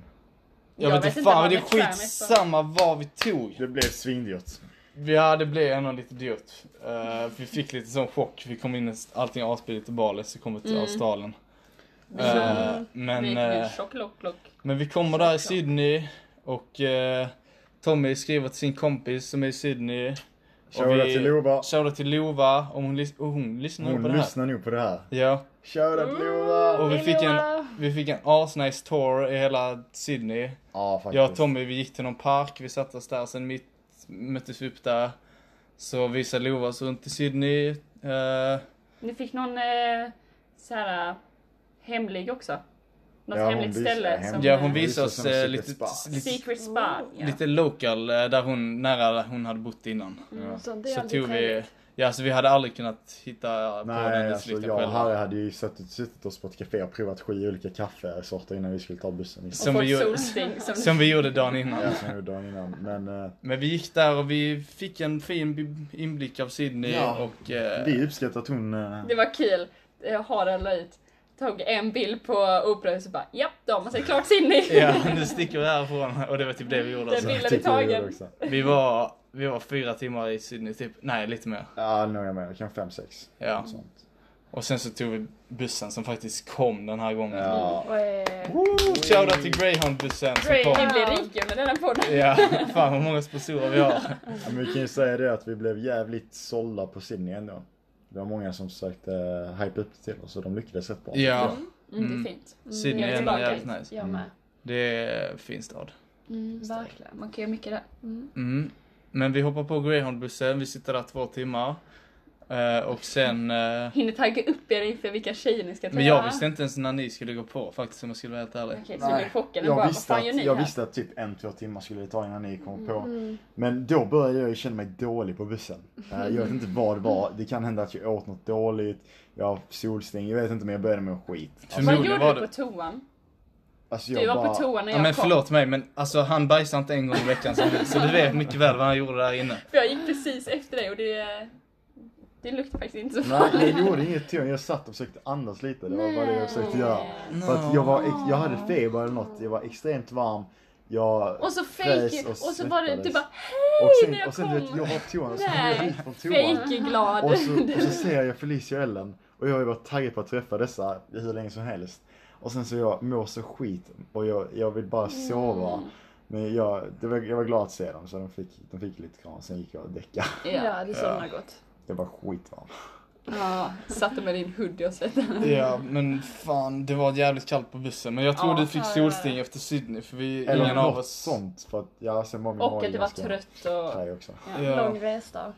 Jag, Jag vet vet inte inte fan vad men det är med tram är för- skitsamma vad vi tog. Det blev svindyrt. Ja det blev ändå lite dyrt. Eh, vi fick lite sån chock. Vi kom in i allting asbilligt till Bali så kom vi till Australien. Eh, men... Vi gick eh, ur tjock lock lock. Men vi kommer där i Sydney och eh, Tommy skriver till sin kompis som är i Sydney. Shoutout vi- till Lova. Shoutout till Lova, om hon, lys- och hon lyssnar nog Hon på det här. lyssnar nog på det här. Ja, Shoutout till Lova! och vi Hej, fick en, Lova. vi fick en asnice tour i hela Sydney. Ja faktiskt. Jag och Tommy vi gick till någon park, vi satte oss där, sen mitt, möttes vi upp där. Så visade Lova oss runt i Sydney. Eh, Ni fick någon eh, så här hemlig också. Något Ja, hon hemligt visar ställe hem- som... Ja hon eh, visar visar oss sina eh, secret lite, spas. lite, Secret spa. Ja. lite local eh, där hon, nära där hon hade bott innan. Sånt är Så alltid tog vi, trevligt. ja så vi hade aldrig kunnat hitta eh, på den Nej, alltså utflykten jag och själva. Harry hade ju suttit, suttit oss på ett café och provat sju olika kaffesorter innan vi skulle ta bussen. i- Och Som fått vi gör- solsting. Som, Som vi gjorde dagen innan. Ja, som jag gjorde dagen innan. Men eh, Men vi gick där och vi fick en fin bi- inblick av Sydney Ja. och... eh, vi uppskattar att hon... eh, Det var kul. Eh, Harald la ut, tog en bild på operahuset och bara japp, då har man sett klart Sydney. Ja, nu sticker vi härifrån och det var typ det vi gjorde. Det Alltså. blir- jag tycker vi gjorde tagen. också. Vi, var, vi var fyra timmar i Sydney typ, nej lite mer. Ja, några mer. Kanske fem, sex. Ja. något sånt. Och sen så tog vi bussen som faktiskt kom den här gången. Ja. Och, eh, Shoutout till Greyhound-bussen som Ray, vi kom. blir rika med den här podden. Ja, fan vad många sponsorer vi har. Ja, Men vi kan ju säga det att vi blev jävligt sålla på Sydney ändå. Det var många som försökte eh, hypa upp det till oss och de lyckades rätt bra. Ja, Mm, det är fint. Sydney jag är är ändå tillbaka. jävligt nice. jag med. Det är en fin stad. Mm, verkligen. Man kan göra mycket där. Mm. Men vi hoppar på Greyhound-bussen, vi sitter där två timmar. Eh, och sen... eh, Hinner tagga upp er inför vilka tjejer ni ska träffa. men jag visste inte ens när ni skulle gå på faktiskt om jag skulle vara helt ärlig. Okej, så du blev Nej, chockad. Jag, jag, bara, visste vad fan gör att, ni jag här? visste att typ en, två timmar skulle det ta innan ni kom på. Men då började jag ju känna mig dålig på bussen. Eh, Jag vet inte vad det var. Det kan hända att jag åt något dåligt. Jag har solsting. Jag vet inte men jag började med skit. Alltså, Vad Förmodligen gjorde var du det- på toan? alltså Du jag var bara... på toan när jag Ja, men kom. förlåt mig men alltså han bajsar inte en gång i veckan som du, så du vet mycket väl vad han gjorde där inne. För jag gick precis efter dig och det, det luktar faktiskt inte så Nej, farligt. jag gjorde inget till Jag satt och försökte andas lite. Det var bara det jag försökte göra. Eh, För att jag, var, ex- jag hade feber eller något. Jag var extremt varm. Jag Och så fräs fake och, så var det du svettades. bara Och hej när sen, jag och sen du vet, jag kom. var på toan och så Nej, kommer jag ut från toan. Fake glad. Och så, och så ser jag Felicia och Ellen och jag har ju varit taggad på att träffa dessa hur länge som helst. Och sen så jag mår så skit och jag, jag vill bara Mm. sova. Men jag, det var, jag var glad att se dem så de fick, de fick lite kram sen gick jag och däckade. Ja. Ja, det somnar gott. Jag var skitvarm. ja, satte med din hoodie och svettades. Ja men fan det var jävligt kallt på bussen men jag tror Ja, du fick ja, ja, ja. solsting efter Sydney för vi, Eller ingen av något oss. sånt för att ja, sen var min Och mage att du var ganska trött och... traj också. Ja. Lång resa.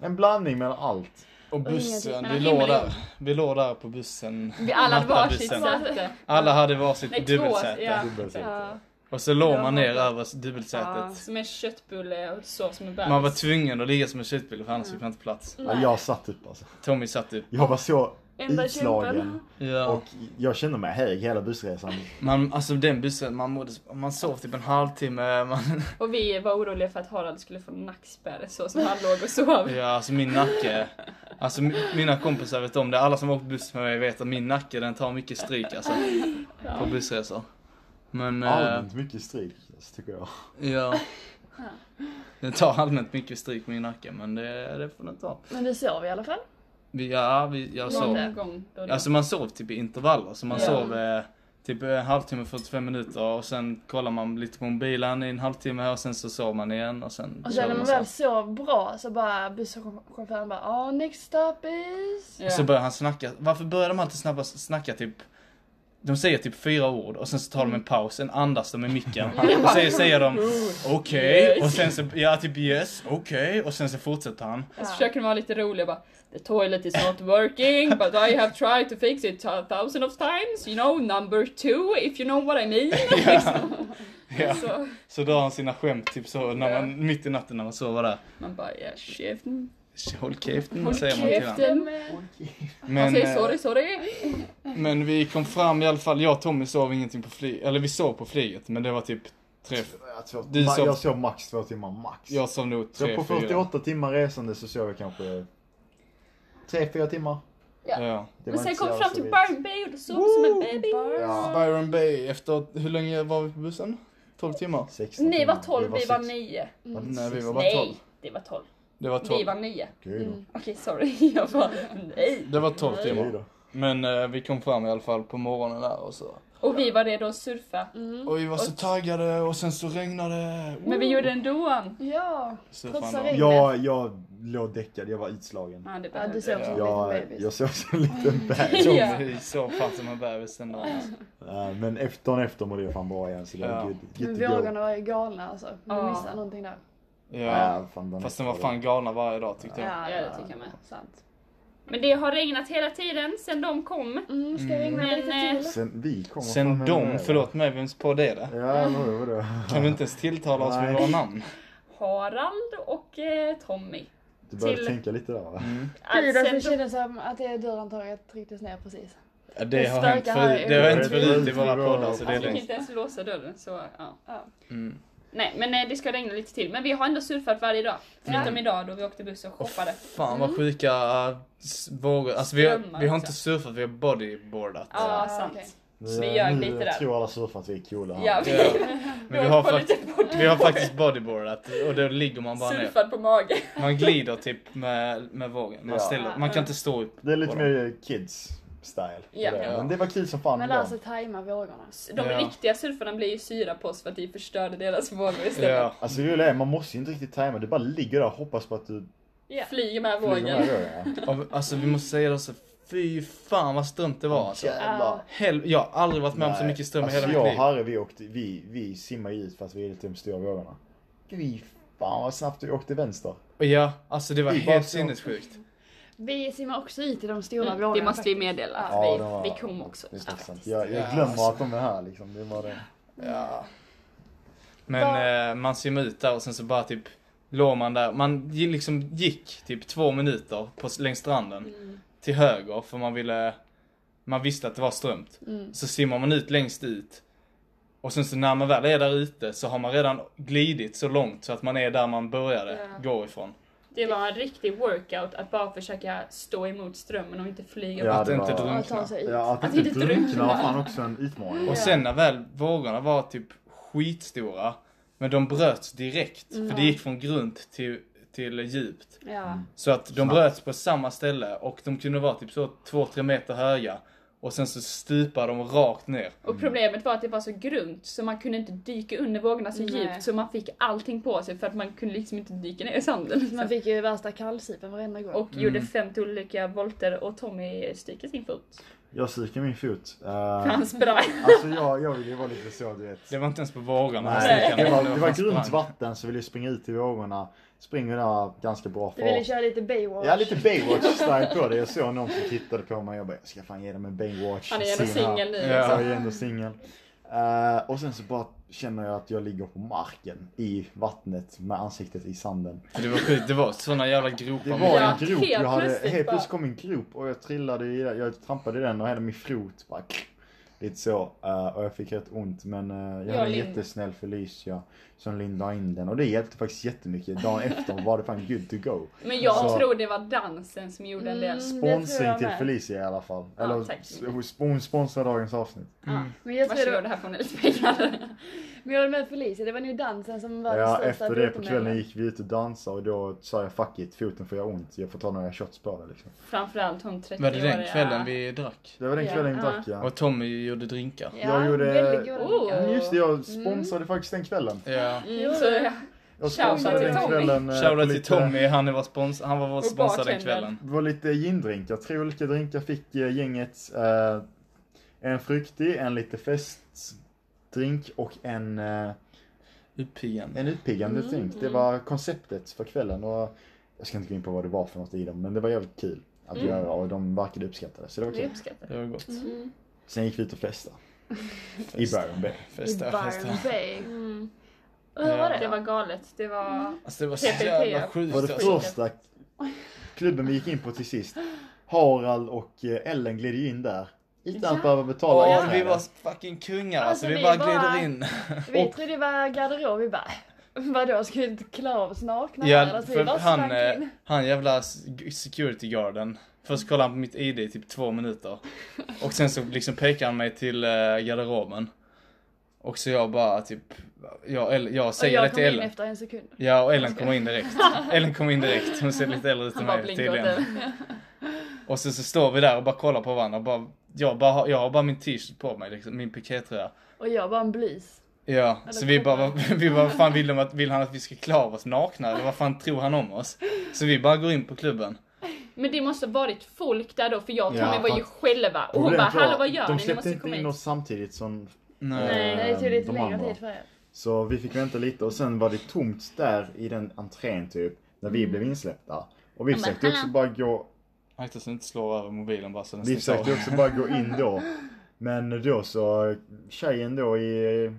En blandning mellan allt. Och ingenting. bussen, vi Men låg himlen. där. Vi låg där på bussen. Vi alla hade varsitt nattabussen. säte. Alla hade varsitt Nej, två. dubbelsäte. Ja. Dubbelsäte. Ja. Och så låg man ner Ja. över dubbelsätet. Som en köttbulle och sås med bärs. Man var typ tvungen att ligga som en köttbulle för annars fick man inte plats. Ja, jag satt upp alltså. Tommy satt upp. Jag var så Enda utslagen kämpen. Ja. och jag kände mig hög hela bussresan. man, alltså den bussen, man, mådde, man sov typ en halvtimme. Man, Och vi var oroliga för att Harald skulle få nackspärr så som han låg och sov. ja, alltså min nacke. Alltså mi- mina kompisar vet om det. Alla som har åkt buss med mig vet att min nacke den tar mycket stryk alltså. På bussresor. Men, eh, Allmänt mycket stryk alltså, tycker jag. ja. Den tar allmänt mycket stryk min nacke men det, det får den ta. Men vi sov i alla fall. Vi, ja, vi, jag sov. Någon gång då och då. Alltså man sov typ i intervaller, så man Ja. sov eh, typ en halvtimme, 45 minuter och sen kollar man lite på mobilen i en halvtimme och sen så sov man igen och sen Och körde sen Alltså, när man så. väl sov bra så bara busschauffören bara ah next stop is... Och så börjar han snacka, varför börjar de alltid snabba, snacka typ de säger typ fyra ord och sen så tar de en paus, sen andas de i micken. Och sen säger de okej Yes. och sen så, ja typ yes, okej och sen så fortsätter han. Så Alltså, försöker de vara lite roliga bara The toilet is not working but I have tried to fix it a thousand of times you know number two if you know what I mean. Liksom. Ja. Så Så drar han sina skämt typ så när man, mitt i natten när man sover där. man bara ja käften. Håll käften Håll säger man till honom. käften. Han Men, säger eh, sorry sorry. Men vi kom fram i alla fall, jag och Tommy sov ingenting på flyget, eller vi sov på flyget men det var typ tre, Jag, tror, Du ma- sov- Alltså, jag sov max två timmar max. jag sov nog så tre, på fyra. 48 timmar resande så sov jag kanske 3-4 timmar. Ja. Det Men var sen inte så kom vi jävla fram till vitt. Byron Bay och då sov vi som en baby. Ja, Byron Bay, efter, hur länge var vi på bussen? 12 timmar? 16 Ni var timmar. 12, vi var sex- 9. var det Nej vi var 16? bara 12. Nej, det var 12. Det var Vi 12. var 9. Okej då. Okej sorry, jag bara nej. Det var 12 Okej timmar. då. Men eh, vi kom fram i alla fall på morgonen där och så. Och vi var redo att surfa. Och vi var så taggade och sen så regnade det. Men vi gjorde ändå. Ja. Så trots fan då. regn. Jag, jag låg däckad, jag var utslagen. Ja, det Ja, du behövde sov jag. Jag, jag sov som som en liten bebis. en liten bebis. Ja. Tommy sov fan som en bebis den dagen. Äh, Men efter dagen efter mådde jag fan bra igen så det Ja. var good. Men good to go. vågorna var ju galna alltså. Vi Ja. missade någonting där. Ja. Ja, fan, Fast efter den var det. fan galna varje dag tyckte jag. Ja, det tycker jag med. Sant. Men det har regnat hela tiden sedan de kom. Mm, ska ringa Men, eh, lite till? Sen vi kommer Sen de, förlåt mig, vems podd är det? Ja, eller hur, vadå? Kan vi inte ens tilltala oss med Nej. våra namn? Harald och eh, Tommy. Du började till- tänka lite där va? Mm. Gud, Alltså, det kändes som att det dörrhandtaget trycktes ner precis. Ja, Det har Starka hänt här förut, är- det har hänt Det är förut i väldigt våra bra. poddar så det är jag fick lugnt. inte ens låsa dörren så ja. Ja. Mm. Nej men eh, det ska regna lite till. Men vi har ändå surfat varje dag. Förutom Mm. idag då vi åkte buss och shoppade. Fan vad sjuka äh, s- vågor. Alltså vi har, Mm. Strömmar vi har också. inte surfat, vi har bodyboardat. Ja Ah, sant. okej. Så vi ljög lite där. Jag tror alla surfar att vi är coola här. Ja, vi, Ja. vi, Men vi har, åkte fakt- lite bort. vi har faktiskt bodyboardat och då ligger man bara ner. Surfat på magen. Man glider typ med, med vågen. Man, Ja. ställer, man kan inte stå upp. Det är lite på dem. mer kids style. Ja. alltså- Det är. Ja. Men det var kul som fan Men idag. lär sig tajma vågorna. De Ja. riktiga surfarna blev ju syra på oss för att vi förstörde deras vågor istället. Ja. Alltså det roliga är, man måste ju inte riktigt tajma. Du bara ligger där och hoppas på att du Flyger med flyger vågen. med rören. Och, Alltså vi måste säga det så fy fan vad strömt det var alltså. Jävlar. Hel- jag har aldrig varit med om så Nej. mycket ström i alltså, hela mitt jag och liv. Harry vi, åkte, vi, vi simmade ju ut fast vi är lite med stora vågorna. Fy fan vad snabbt vi åkte vänster. Och Ja, alltså det var Vi bara helt så- sinnessjukt. Vi simmar också ut i de stora Mm, vågorna. Det måste vi faktiskt. meddela att Ja, vi, det var- vi kom också. Det är Ja. sant. Jag, jag Ja, glömmer alltså. att de är här liksom. Det var det. Ja. Men eh, man simmar ut där och sen så bara typ låg man där. Man gi- liksom gick typ två minuter på, längs stranden till höger för man ville, man visste att det var strömt. Så simmar man ut längst ut. Och sen så när man väl är där ute så har man redan glidit så långt så att man är där man började Ja. gå ifrån. Det var en riktig workout att bara försöka stå emot strömmen och inte flyga. Ja, att det inte var- drunkna. Och ta sig ut. Alltså, Ja, att Att inte inte drunkna. drunkna var fan också en utmaning. Och sen när väl vågorna var typ skitstora, men de bröts direkt. För det gick från grunt till, till djupt. Ja. Så att de Snabbt. bröts på samma ställe och de kunde vara typ så 2-3 meter höga. Och sen så stupade de rakt ner. Och problemet var att det var så grunt så man kunde inte dyka under vågorna så Nej. djupt så man fick allting på sig för att man kunde liksom inte dyka ner i sanden. Man fick ju värsta kallsupen varenda gång. Och gjorde Mm. 50 olika volter och Tommy stykade sin fot. Jag psykar min fot. Eh, Han sprang. alltså jag, jag vill ju vara lite så du vet. Det var inte ens på vågorna. Alltså, Nej, Stickan. det var, det var fan grunt sprang. vatten så ville jag springa ut i vågorna. Springer där ganska bra Du ville fart. köra lite Baywatch. Jag är lite Baywatch-style på det. Jag såg någon som tittade på mig och jag bara, jag ska fan ge dem en Baywatch. Han är ändå Sing här. singel nu. Ja. Jag liksom. är ändå singel. Eh, och sen så bara känner jag att jag ligger på marken i vattnet med ansiktet i sanden. Det var sjukt, det var såna jävla Det gropar. var Ja, en grop, helt jag hade, plötsligt helt plötsligt bara- kom en grop och jag trillade i den, jag trampade i den och hela min fot bara klick, Lite så, Eh, och jag fick rätt ont men eh, jag hade en Lind- jättesnäll Felicia som lindade in den och det hjälpte faktiskt jättemycket. Dagen efter var det fan good to go. Men jag Så- tror det var dansen som gjorde en del. Mm. Det tror jag Sponsring till med. Felicia i alla fall. Ja, Eller tack. s- hon sp- hon sponsrar dagens avsnitt. Mm. Ja. Men jag tror det Varsågod, här får ni lite pengar. Men jag håller med Felicia, det var nog dansen som var den Ja, största efter det på dopamin. kvällen gick vi ut och dansade och då sa jag fuck it, foten får jag ont. Jag får ta några shots på det liksom. Framförallt hon 30-åriga. Var det den kvällen vi drack? Det var den Ja. kvällen jag Ja. drack ja. Och Tommy gjorde drinkar. Ja, Jag gjorde- väldigt goda Oh. drinkar. Men just det, jag sponsrade faktiskt den kvällen. Ja. Mm, så, ja. Jag Shoutout sponsrade till den Tommy. kvällen. eh, på Shoutout till lite- Tommy, han var, spons- han var vår Och sponsor den bartendern. kvällen. Det var lite gindrinkar, tre olika drinkar fick eh, gänget. Eh, en fruktig, en lite festdrink och en, eh, Uppiggande. en utpiggande Mm, drink. Det var konceptet för kvällen. Och jag ska inte gå in på vad det var för något i dem, men det var jävligt kul att Mm. göra och de verkade uppskatta det. Så det var Vi kul. uppskattar det. Det var gott. Mm. Sen gick vi ut och festade. I Byron Bay. I Festa, festa. Byron Bay. Mm. Och hur var det Det då? Mm. var galet. Det var... Alltså det var så PPP. jävla Det sjukt var det alltså. första klubben vi gick in på till sist. Harald och eh, Ellen gled ju in där. Utan Ja. att behöva betala Åh, inträde. vi var fucking kungar alltså, Alltså, vi, vi bara bara- glider in. Vi trodde det var garderob, vi bara Vadå, ska vi inte klara oss nakna här? Ja, Alltså, vi för bara han, slank eh, in. han jävla s- security guarden. Först kollade han på mitt ID i typ två minuter. Och sen så liksom pekade han mig till eh, garderoben. Och så jag bara typ, jag, eller- jag Och säger jag det till kom in Ellen. efter en sekund. Ja, och Ellen kommer in direkt. Ellen kommer in direkt, hon ser lite äldre ut än Han bara mig blinkade åt tydligen. den. Och sen så står vi där och bara kollar på varandra. och Bara, jag, bara, har- jag har bara min t-shirt på mig, liksom, min pikétröja. Och jag var en blus. Ja, så vi bara, koppar. vad- vi bara, vad fan vill, de att, vill han att vi ska klä av oss nakna eller vad fan tror han om oss? Så vi bara går in på klubben. Men det måste ha varit folk där då, för jag och Ja, Tommy var ju själva. Och hon bara, Problemet var, hallå vad gör De ni? Ni släppte måste inte komma in in. oss samtidigt som Nej. Nej, Nej, det tog lite de längre andra. tid för er. Så vi fick vänta lite och sen var det tomt där i den entrén typ. När vi blev insläppta. Och vi Mm. men försökte också hallå. bara gå Akta inte slår över mobilen bara så den Vi stängs av. försökte också bara gå in då. Men då så, tjejen då i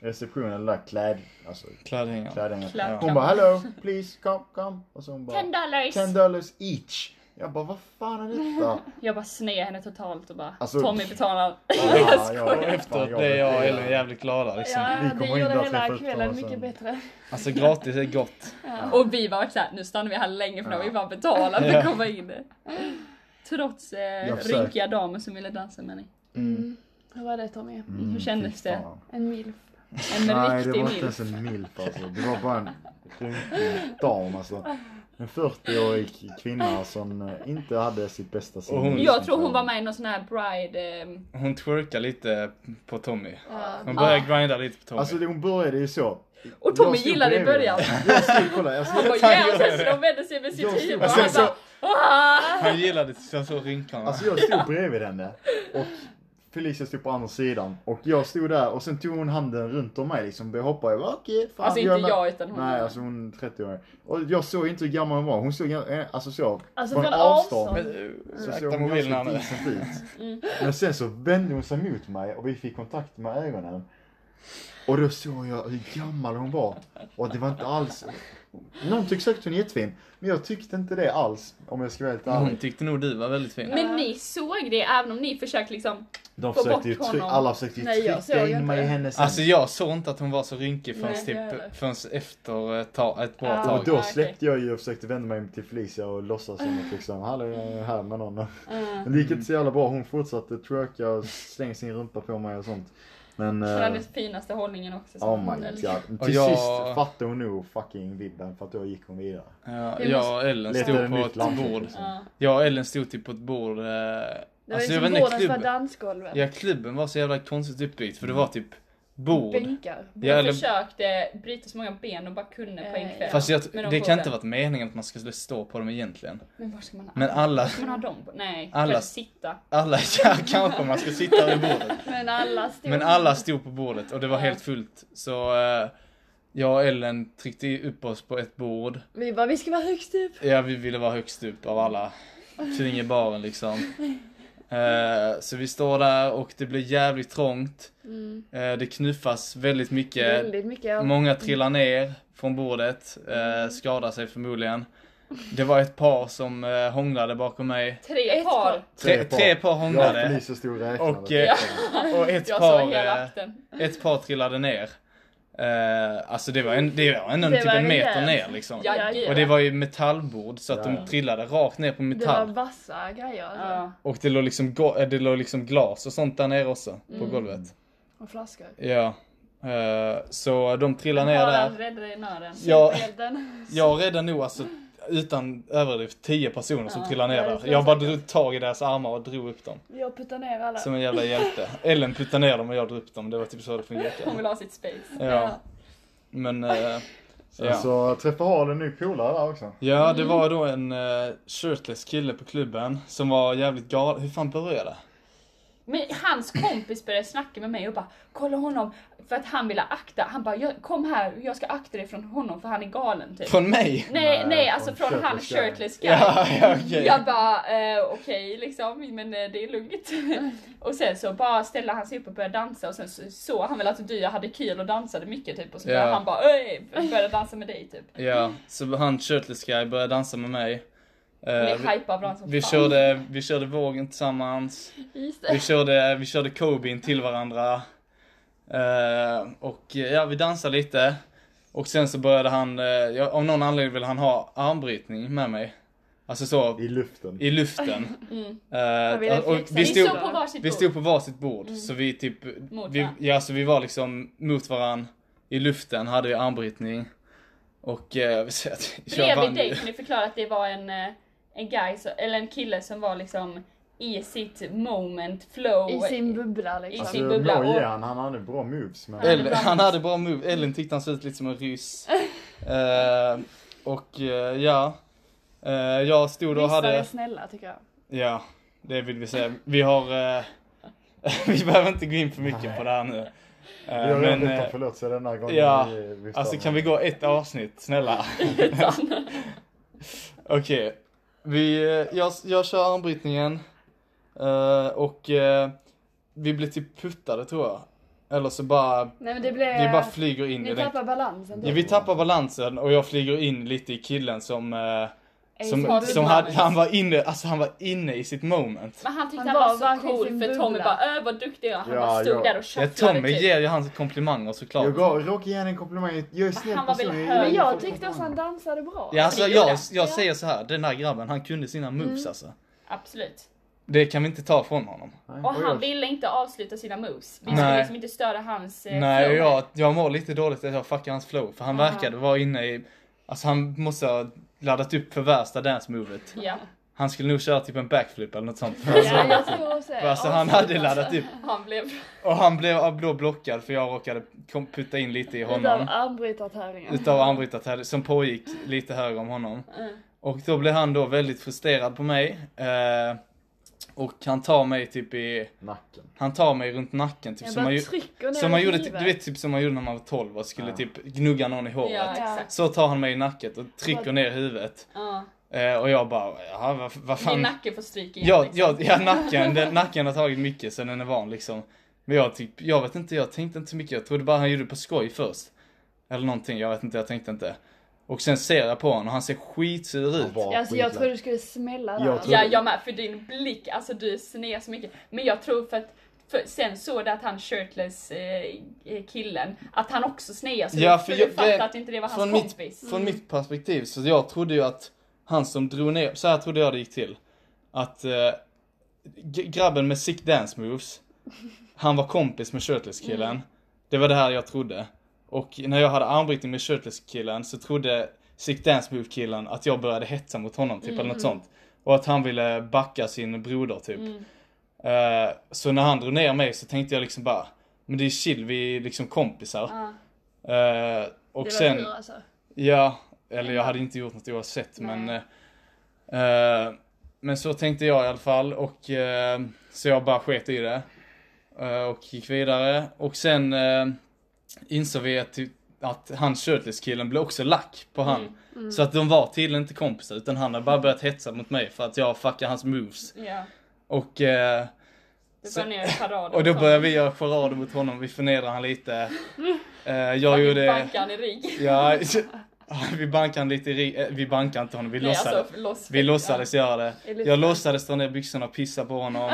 receptionen, där kläd, alltså Klädhängaren. klädhängaren. Kläd- Hon bara hello, please come, come. Och så hon bara Ten dollars! 10 dollars each. Jag bara vad fan är detta? Jag bara sned henne totalt och bara Alltså- Tommy betalar. Ja, Och jag- efter fan, det är jag och blev- Ellen jävligt glada liksom. Vi Ja, det kommer in där gjorde och träffar hela upp kvällen och sen- mycket bättre. Alltså gratis är gott. Och vi var såhär, nu stannar vi här länge för nu har vi bara betalat för att komma in. Trots eh, Jag försökte. rynkiga damer som ville dansa med mig. Mm. Hur var det Tommy? Mm. Hur kändes fy det? fan. En milf. Nej En det var riktig inte milf. ens en milf alltså. Det var bara en rynkig dam alltså. En 40-årig kvinna som eh, inte hade sitt bästa sinne. Och hon- Jag tror hon var med i någon sån här bride... Eh, Hon twerkar lite på Tommy. Ja. Ah. Hon börjar grinda lite på Tommy. Alltså det, hon började ju så. och Tommy Jag stod gillade det i bredvid. början. Jag stod, kolla, jag Han stod, bara yeah! Och sen så de vände sig med sitt Jag stod- huvud och och sen han bara "Ah!" Han gillade det så jag såg rynkarna. alltså jag stod bredvid henne. Och Felicia stod på andra sidan. Och jag stod där och sen tog hon handen runt om mig liksom. Började hoppa. Jag bara okej. fan, Alltså gör inte med- jag utan hon. Nej alltså hon är 30 år. Och jag såg inte hur gammal hon var. Hon såg eh, alltså så. Alltså, från från avstånd. avstånd. Men, uh, Så såg akta hon mobilen här ganska nu. decent Mm. ut. Men sen så vände hon sig mot mig och vi fick kontakt med ögonen. Och då såg jag hur gammal hon var. Och det var inte alls... Någon tyckte säkert hon är jättefin. Men jag tyckte inte det alls. Om jag ska vara helt Hon ärlig. tyckte nog du var väldigt fin. Men ni såg det även om ni försökte liksom... De Få försökte ju bort try- honom. alla försökte ju Nej, jag såg trycka in inte mig i det. hennes Alltså hand. jag såg inte att hon var så rynkig Nej, förrän, det är det. typ, förrän efter ett, tag, ett bra Ja. tag. Och Ah, då okej. släppte jag ju och försökte vända mig till Felicia och låtsas som att liksom, hallå jag är här med någon. Men det gick inte så jävla bra. Hon fortsatte twerka och slängde sin rumpa på mig och sånt. Men... Den eh, hade finaste hållningen också. som liksom- Oh my modell. god. Och Till jag- sist fattade hon nog fucking vidden för att då gick hon vidare. Ja, Vi jag och Ellen Letade stod på nytt ett land, bord. liksom. Ja. Jag och Ellen stod typ på ett bord. eh, Det var Alltså jag vet liksom inte, bordens var klubben, dansgolvet. ja, klubben var så jävla konstigt uppbyggd för det var typ bord. Bänkar. Ja, Jag eller, försökte bryta så många ben och bara kunde på en Eh, kväll. fast jag, Men de det får kan det. inte varit meningen att man skulle stå på dem egentligen. Men var ska man ha? Men alla, Ska man ha dem på? Nej, Alla- kanske sitta. alla, ja kanske man ska sitta vid bordet. Men alla stod. Men alla stod på bordet och det var Ja. helt fullt. Så eh, jag och Ellen tryckte upp oss på ett bord. Vi bara, vi ska vara högst upp. Ja, vi ville vara högst upp av alla kring i baren liksom. Eh, så vi står där och det blir jävligt trångt. Mm. Eh, det knuffas väldigt mycket. Väldigt mycket. Många trillar ner från bordet, eh, skadar sig förmodligen. Det var ett par som eh, hånglade bakom mig. Tre Ett par. par. Tre, tre par Jag och hånglade. Felicia stod och räknade. Och, eh, och ett Jag par... såg hela eh, akten. ett par trillade ner. Eh, alltså det var, en, det var ändå Det typ var en meter rejält. ner liksom. Ja, Ja, gud. Och det var ju metallbord så att Ja, de ja. trillade rakt ner på Det var metall. vassa grejer alltså. Ja. Och det låg, liksom, go- eh, det låg liksom glas och sånt där nere också Mm. på golvet. Och flaskor. Ja. Eh, så de trillade ner Bara där. rädda dig i nöden. Jag, Elden. jag räddade nog alltså utan överdrift 10 personer som Ja, trillade ner ja, det där. tror jag Jag bara säkert. drog tag i deras armar och drog upp dem. Jag puttade ner alla. Som en jävla hjälte. Ellen puttade ner dem och jag drog upp dem. Det var typ så det Hon fungerade. vill ha sitt space. Ja. Men... eh, Sen ja. så träffade Harl en ny polare där också. Ja, det var då en eh, shirtless kille på klubben som var jävligt galen. Hur fan började det? Men hans kompis började snacka med mig och bara kolla honom för att han ville akta. Han bara "Jag- kom här, jag ska akta dig från honom för han är galen typ. Från mig? Nej, Nej, nej, alltså från från han shirtless guy. shirtless guy. Ja, ja okej. Jag bara eh, okej liksom, men eh, det är lugnt. och sen så bara ställde han sig upp och började dansa och sen så såg han väl att du hade kul och dansade mycket typ och så Ja. började han bara "Öj", började dansa med dig typ. Ja, så han shirtless guy började dansa med mig. Eh, Blev vi, hypad av honom som vi, fan. körde, vi körde vågen tillsammans. Just Vi det. körde, vi körde Kobin till varandra. Eh, och eh, ja, vi dansade lite. Och sen så började han, eh, ja, av någon anledning ville han ha armbrytning med mig. Alltså så, I luften. i luften. Mm. Eh, ville och, och fixa vi Vi stod, stod på varsitt Vi bord. Mm. stod på varsitt bord, så vi typ... Mot vi, varandra. ja, så vi var liksom mot varann i luften, hade ju armbrytning. Och eh, jag vill säga att jag Bredvid vann ju. dig kunde förklara att det var en, eh, en guy, så, eller en kille som var liksom i sitt moment flow. I sin bubbla liksom. I Alltså sin bubbla Moj och- han, han hade bra moves. Men... Eller- Ellen, han hade bra move, Ellen tyckte han såg ut lite som en ryss. Eh, och eh, ja, Eh, jag stod och Vissa är hade... snälla tycker jag. Ja, det vill vi säga. Vi har... eh, vi behöver inte gå in för mycket på det här nu. Eh, Vi har redan men, eh, utan förlåtelse den här gången. ja, vi, vi Alltså stannar. Liksom. kan vi gå ett avsnitt, snälla? Okej. Vi, eh, jag, jag kör armbrytningen eh, och eh, vi blir typ puttade tror jag. Eller så bara, Nej men det blev... Eh, vi bara flyger in i ni den. tappar balansen. typ. Ja, vi tappar balansen och jag flyger in lite i killen som, eh, som, hade som ett hade, moment. han var inne, alltså han var inne i sitt moment. Men han tyckte Han han, var var, så verkligen sin cool för bubbla. Tommy bara öh vad duktig jag är." Han Ja, bara stod ja. där och typ. Ja, tjattrade Tommy ger ju hans komplimanger såklart. Jag gav, råkade ge henne en komplimang, jag är en snäll Han var väl person. hög. Men jag tyckte också han dansade bra. Ja, alltså, det gjorde jag, han. jag Ja. säger så här, den där grabben han kunde sina moves alltså. Absolut. Det kan vi inte ta från honom. Och han ville inte avsluta sina moves. Vi Nej. skulle liksom inte störa hans eh, Nej, och flow. jag, jag mår lite dåligt att jag fuckar hans flow för han verkade vara inne i, alltså han måste ha laddat upp för värsta dance-movet. Ja. Han skulle nog köra typ en backflip eller något sånt. Ja, jag tror också För alltså han hade laddat upp. Han blev... Och han blev då blockad för jag råkade kom- putta in lite i Utav honom. Typ armbrytartävlingen. Utav armbrytartävling som pågick lite högre om honom. Mm. Och då blev han då väldigt frustrerad på mig. Eh, och han tar mig typ i, Nacken. han tar mig runt nacken. Typ, Jag som bara man, ju- trycker ner som man i gjorde, huvudet. typ- du vet typ som man gjorde när man var 12 och skulle Ja. typ gnugga någon i håret. Ja, Ja. exakt. Så tar han mig i nacket och trycker ner huvudet. Ja. Eh, och jag bara, jaha vad, vad Din fan. nacke får stryk igen. Ja, liksom. ja, ja nacken, den, nacken har tagit mycket så den är van liksom. Men jag typ, jag vet inte, jag tänkte inte så mycket. Jag trodde bara han gjorde det på skoj först. Eller någonting, jag vet inte, jag tänkte inte. Och sen ser jag på honom och han ser skitsur ut. Han var Ja, alltså, jag skitlös. trodde det skulle smälla där. Jag tror- Ja, jag med. För din blick, alltså du snear så mycket. Men jag tror för att för sen såg det att han shirtless eh, eh, killen, att han också snear så Ja, du- för du jag- fattade det- att inte det var hans från mitt- kompis. Mm. Från mitt perspektiv, så jag trodde ju att han som drog ner, så här trodde jag det gick till. Att eh, g- grabben med sick dance moves, han var kompis med shirtless killen. Mm. Det var det här jag trodde. Och när jag hade armbrytning med shirtless killen så trodde sick dance move killen att jag började hetsa mot honom typ eller något Mm. sånt. Och att han ville backa sin broder typ. Eh, så när han drog ner mig så tänkte jag liksom bara, men det är chill, vi är liksom kompisar. Ja. Eh, och det var sen, tur alltså. Ja, eller jag hade inte gjort något oavsett men Nej. eh, eh, Men så tänkte jag i alla fall och eh, så jag bara sket i det eh, och gick vidare och sen eh, insåg vi att, typ, att han shirtless-killen blev också lack på han Så att de var tydligen inte kompisar utan han hade bara börjat hetsa mot mig för att jag fuckade hans moves Ja, och eh, det Så- var ner i paraden. och då började vi göra charader mot honom, vi förnedrade han lite. Eh, jag gjorde... Bankan i rygg. Ja, vi bankade han lite i ri- eh, Vi bankade inte honom, vi Nej, låtsades. alltså, loss, vi låtsades göra det. I luften. Jag låtsades dra ner byxorna och pissa på honom.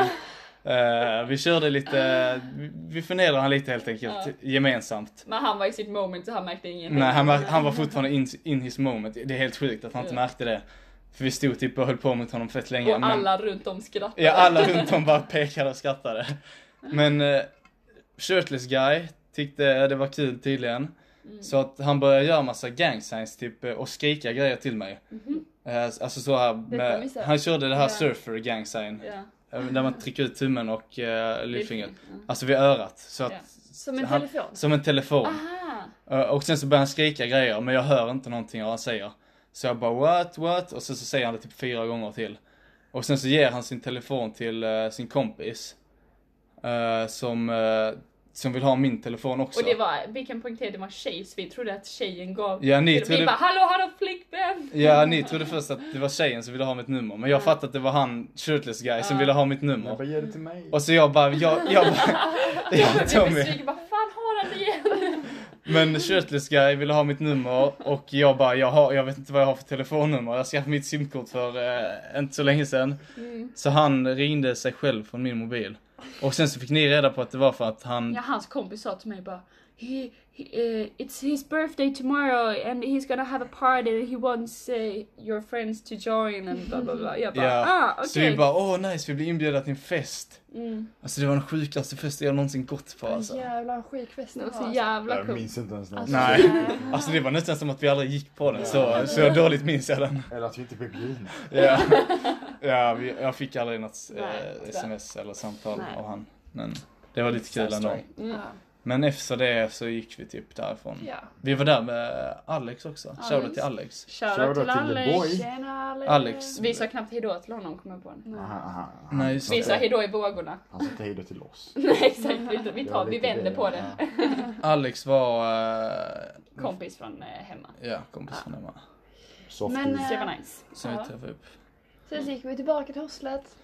Eh, vi körde lite, vi- vi förnedrade han lite helt enkelt, Ja. gemensamt. Men han var i sitt moment så han märkte ingenting. Nej, han, mär- han var fortfarande in, in his moment. Det är helt sjukt att han inte Ja. märkte det. För vi stod typ och höll på mot honom fett länge. Och alla runt om skrattade. Ja, alla runt om bara pekade och skrattade. Men eh, shirtless guy tyckte eh, det var kul tydligen. Mm. Så att han började göra massa gang signs typ eh, och skrika grejer till mig. Mm-hmm. Eh, alltså så här med, missade jag. han körde det här Ja. surfer gang sign. Ja. eh, Där man trycker ut tummen och eh, lillfingret. Ja. Alltså vid örat. Så att, Ja. Som en han- telefon. Som en telefon. Ah, Eh, Och sen så börjar han skrika grejer men jag hör inte någonting av vad han säger. Så jag bara what, what? Och sen så säger han det typ fyra gånger till. Och sen så ger han sin telefon till eh, sin kompis. eh, som, eh, som vill ha min telefon också. och det var, vi kan poängtera det var tjej så vi trodde att tjejen gav Ja, ni vi trodde- bara hallå han har flickvän! Ja ni trodde först att det var tjejen som ville ha mitt nummer men jag fattade att det var han shirtless guy som Ja. ville ha mitt Jag bara, nummer. ge det till mig. Mm. Och så jag bara, jag, jag bara, Jag jag blev Tommy. besviken, vad fan har han det igen? Men shirtless guy ville ha mitt nummer och jag bara, jag, har, jag vet inte vad jag har för telefonnummer. Jag skaffade mitt simkort för eh, inte så länge sedan. Mm. Så han ringde sig själv från min mobil. Och sen så fick ni reda på att det var för att han... Ja, hans kompis sa till mig bara he, he, eh, It's his birthday tomorrow and he's gonna have a party and he wants eh, your friends to join and bla bla bla. Jag bara Ja. ah okej. Så vi bara, åh nice, vi blir inbjudna till en fest. Mm. Alltså det var den sjukaste festen jag någonsin gått på alltså. Jävlar vad sjuk fest Det det var var. så alltså. jävla Jag coolt. minns inte ens när Alltså, Nej. eh, Alltså det var nästan som att vi aldrig gick på den, så, så dåligt minns jag den. Eller att vi inte blev bjudna. Ja, ja vi, jag fick aldrig något Nej, eh, sms eller samtal Nej. av han. Men det var lite kul ändå. Mm. ja. Men efter det så gick vi typ därifrån. Ja. Vi var där med Alex också. Alex. Shoutout till Alex. Shoutout till Shoutout till the Alex. boy. Tjena Alex. Alex. Vi sa knappt hejdå till honom kommer jag på. nu. Aha, aha, aha. Nej, just Vi sa det. hejdå i vågorna. Han satte hej då till oss. Nej exakt, vi, vi, Det tar, var vi lite vänder på det. Ja. Alex var... eh, Kompis från eh, hemma. ja, kompis från Emma. Softies. Men, eh, Så det var nice. Som Ja. vi träffade upp. Sen så gick vi tillbaka till hostlet.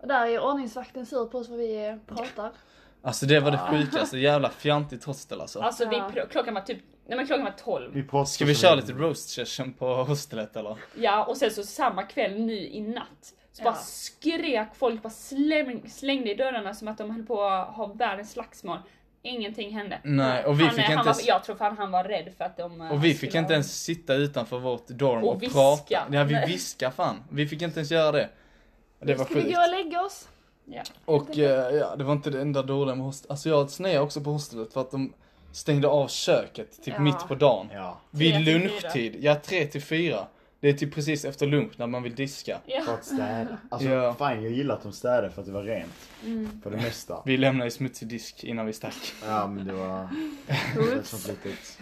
Och där är ordningsvakten sur på oss för vi pratar. Alltså det var det sjukaste, jävla fjantigt hostel alltså. Alltså vi, Ja. pr- klockan var typ, nej men klockan var 12. Vi pratar Ska vi köra lite roast session på hostelet eller? Ja och sen så samma kväll nu i natt så bara Ja. skrek folk, bara släng, slängde i dörrarna som att de höll på att ha världens slagsmål. Ingenting hände. Nej, och vi han, fick han inte var, ens- jag tror fan han var rädd för att de... eh, Och vi fick skulle inte ha- ens sitta utanför vårt dorm Och och, viska. prata. Ja vi Nej. viska fan. Vi fick inte ens göra det. Det var Ska vi sjukt. gå och lägga oss? Ja. Och eh, ja, det var inte det enda dåliga med hostel. Alltså jag sned också på hostelet för att de stängde av köket typ Ja. mitt på dagen. Ja, Vid till fyra. lunchtid, ja tre till fyra. Det är typ precis efter lunch när man vill diska. för Ja. att städa. Alltså Ja. fan jag gillar att de städade för att det var rent. Mm. För det mesta. Vi lämnade ju smutsig disk innan vi stack. Ja men det var... Det var sånt litet.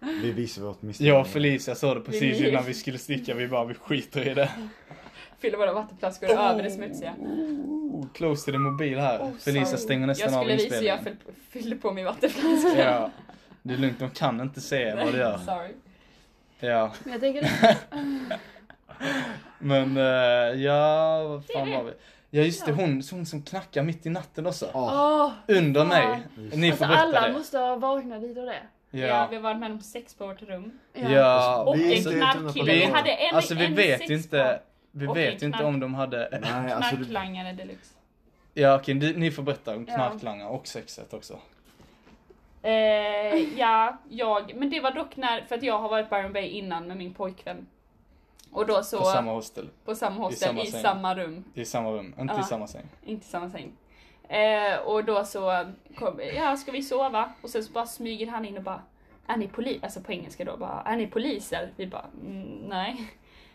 Vi visade vårt misstag. Jag och Felicia sa det precis Vi- innan vi skulle sticka, vi bara vi skiter i det. Fyller våra vattenflaskor över det smutsiga. Oh, close till din mobil här. Oh, Felicia sorry. stänger Jag nästan av skulle visa hur jag inspelningen. fyll- fyllde på min vattenflaska. Ja. Det är lugnt, de kan inte se vad det gör. Sorry. Ja. Men jag tänker det. Men eh, ja, vad fan Det är var vi? Ja just det, hon, hon som knackar mitt i natten också. Ja, Åh! Under mig. fan. Just Ni Alltså får berätta alla det. måste ha vaknat dit och det. Ja. Ja. vi har varit med om sex på vårt rum. Ja. Och Vi är en inte knarkkille. utanför Vi hade en, Alltså vi en vet sex ju inte. Vi Och vet en ju inte knark- om de hade... Nej, på alltså det- Knarklangare deluxe. Ja okej, ni- ni får berätta om Ja. knarklangar och sexet också. Eh, ja, jag. Men det var dock när, för att jag har varit på Iron Bay innan med min pojkvän. Och då så, På samma hostel. på samma hostel, samma i säng. samma rum. I samma rum, inte Ja. i samma säng. Inte samma säng. Eh, och då så kom, ja ska vi sova? Och sen så bara smyger han in och bara, är ni polis? Alltså på engelska då bara, är ni poliser? Vi bara, "Mm, nej.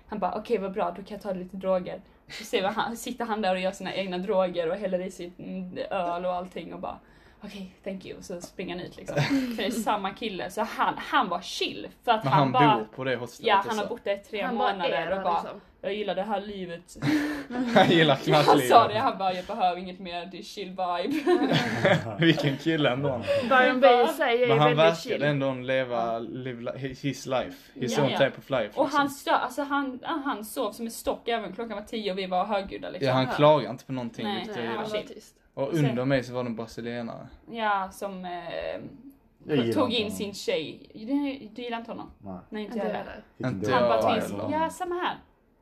Han bara, okej vad bra, då kan jag ta lite droger. Så ser vi han, sitter han där och gör sina egna droger och häller i sitt mm, öl och allting och bara, okej thank you. Och så springer han ut liksom. För det är samma kille, så han, han var chill. För att Men han, han bara, bor på det hostelet ja han också. har bott där i tre Han bara är månader och där bara, liksom. jag gillar det här livet. Han gillar Alltså, Han sa det, knarklivet. han bara jag behöver inget mer, det är chill vibe. Vilken kille ändå. Byron Bay i sig är ju Men han väldigt verkade chill. ändå leva live, li- his life. His Ja, own ja. type of life. och liksom. han, stö, alltså han, ja, han sov som en stock även klockan var tio och vi var högljudda liksom. ja, han klagar inte på någonting Nej, vilket jag Nej, gillar. han var Chill. tyst. Och under mig så var det en brasilianare. Ja, som eh, Jag gillar tog inte in honom. sin tjej. Du, du gillar inte honom? Nej. Nej inte Inte jag jag heller. där. Fick Inte en Han jag dålig bara heller. vibe till sin, av ja honom. samma här.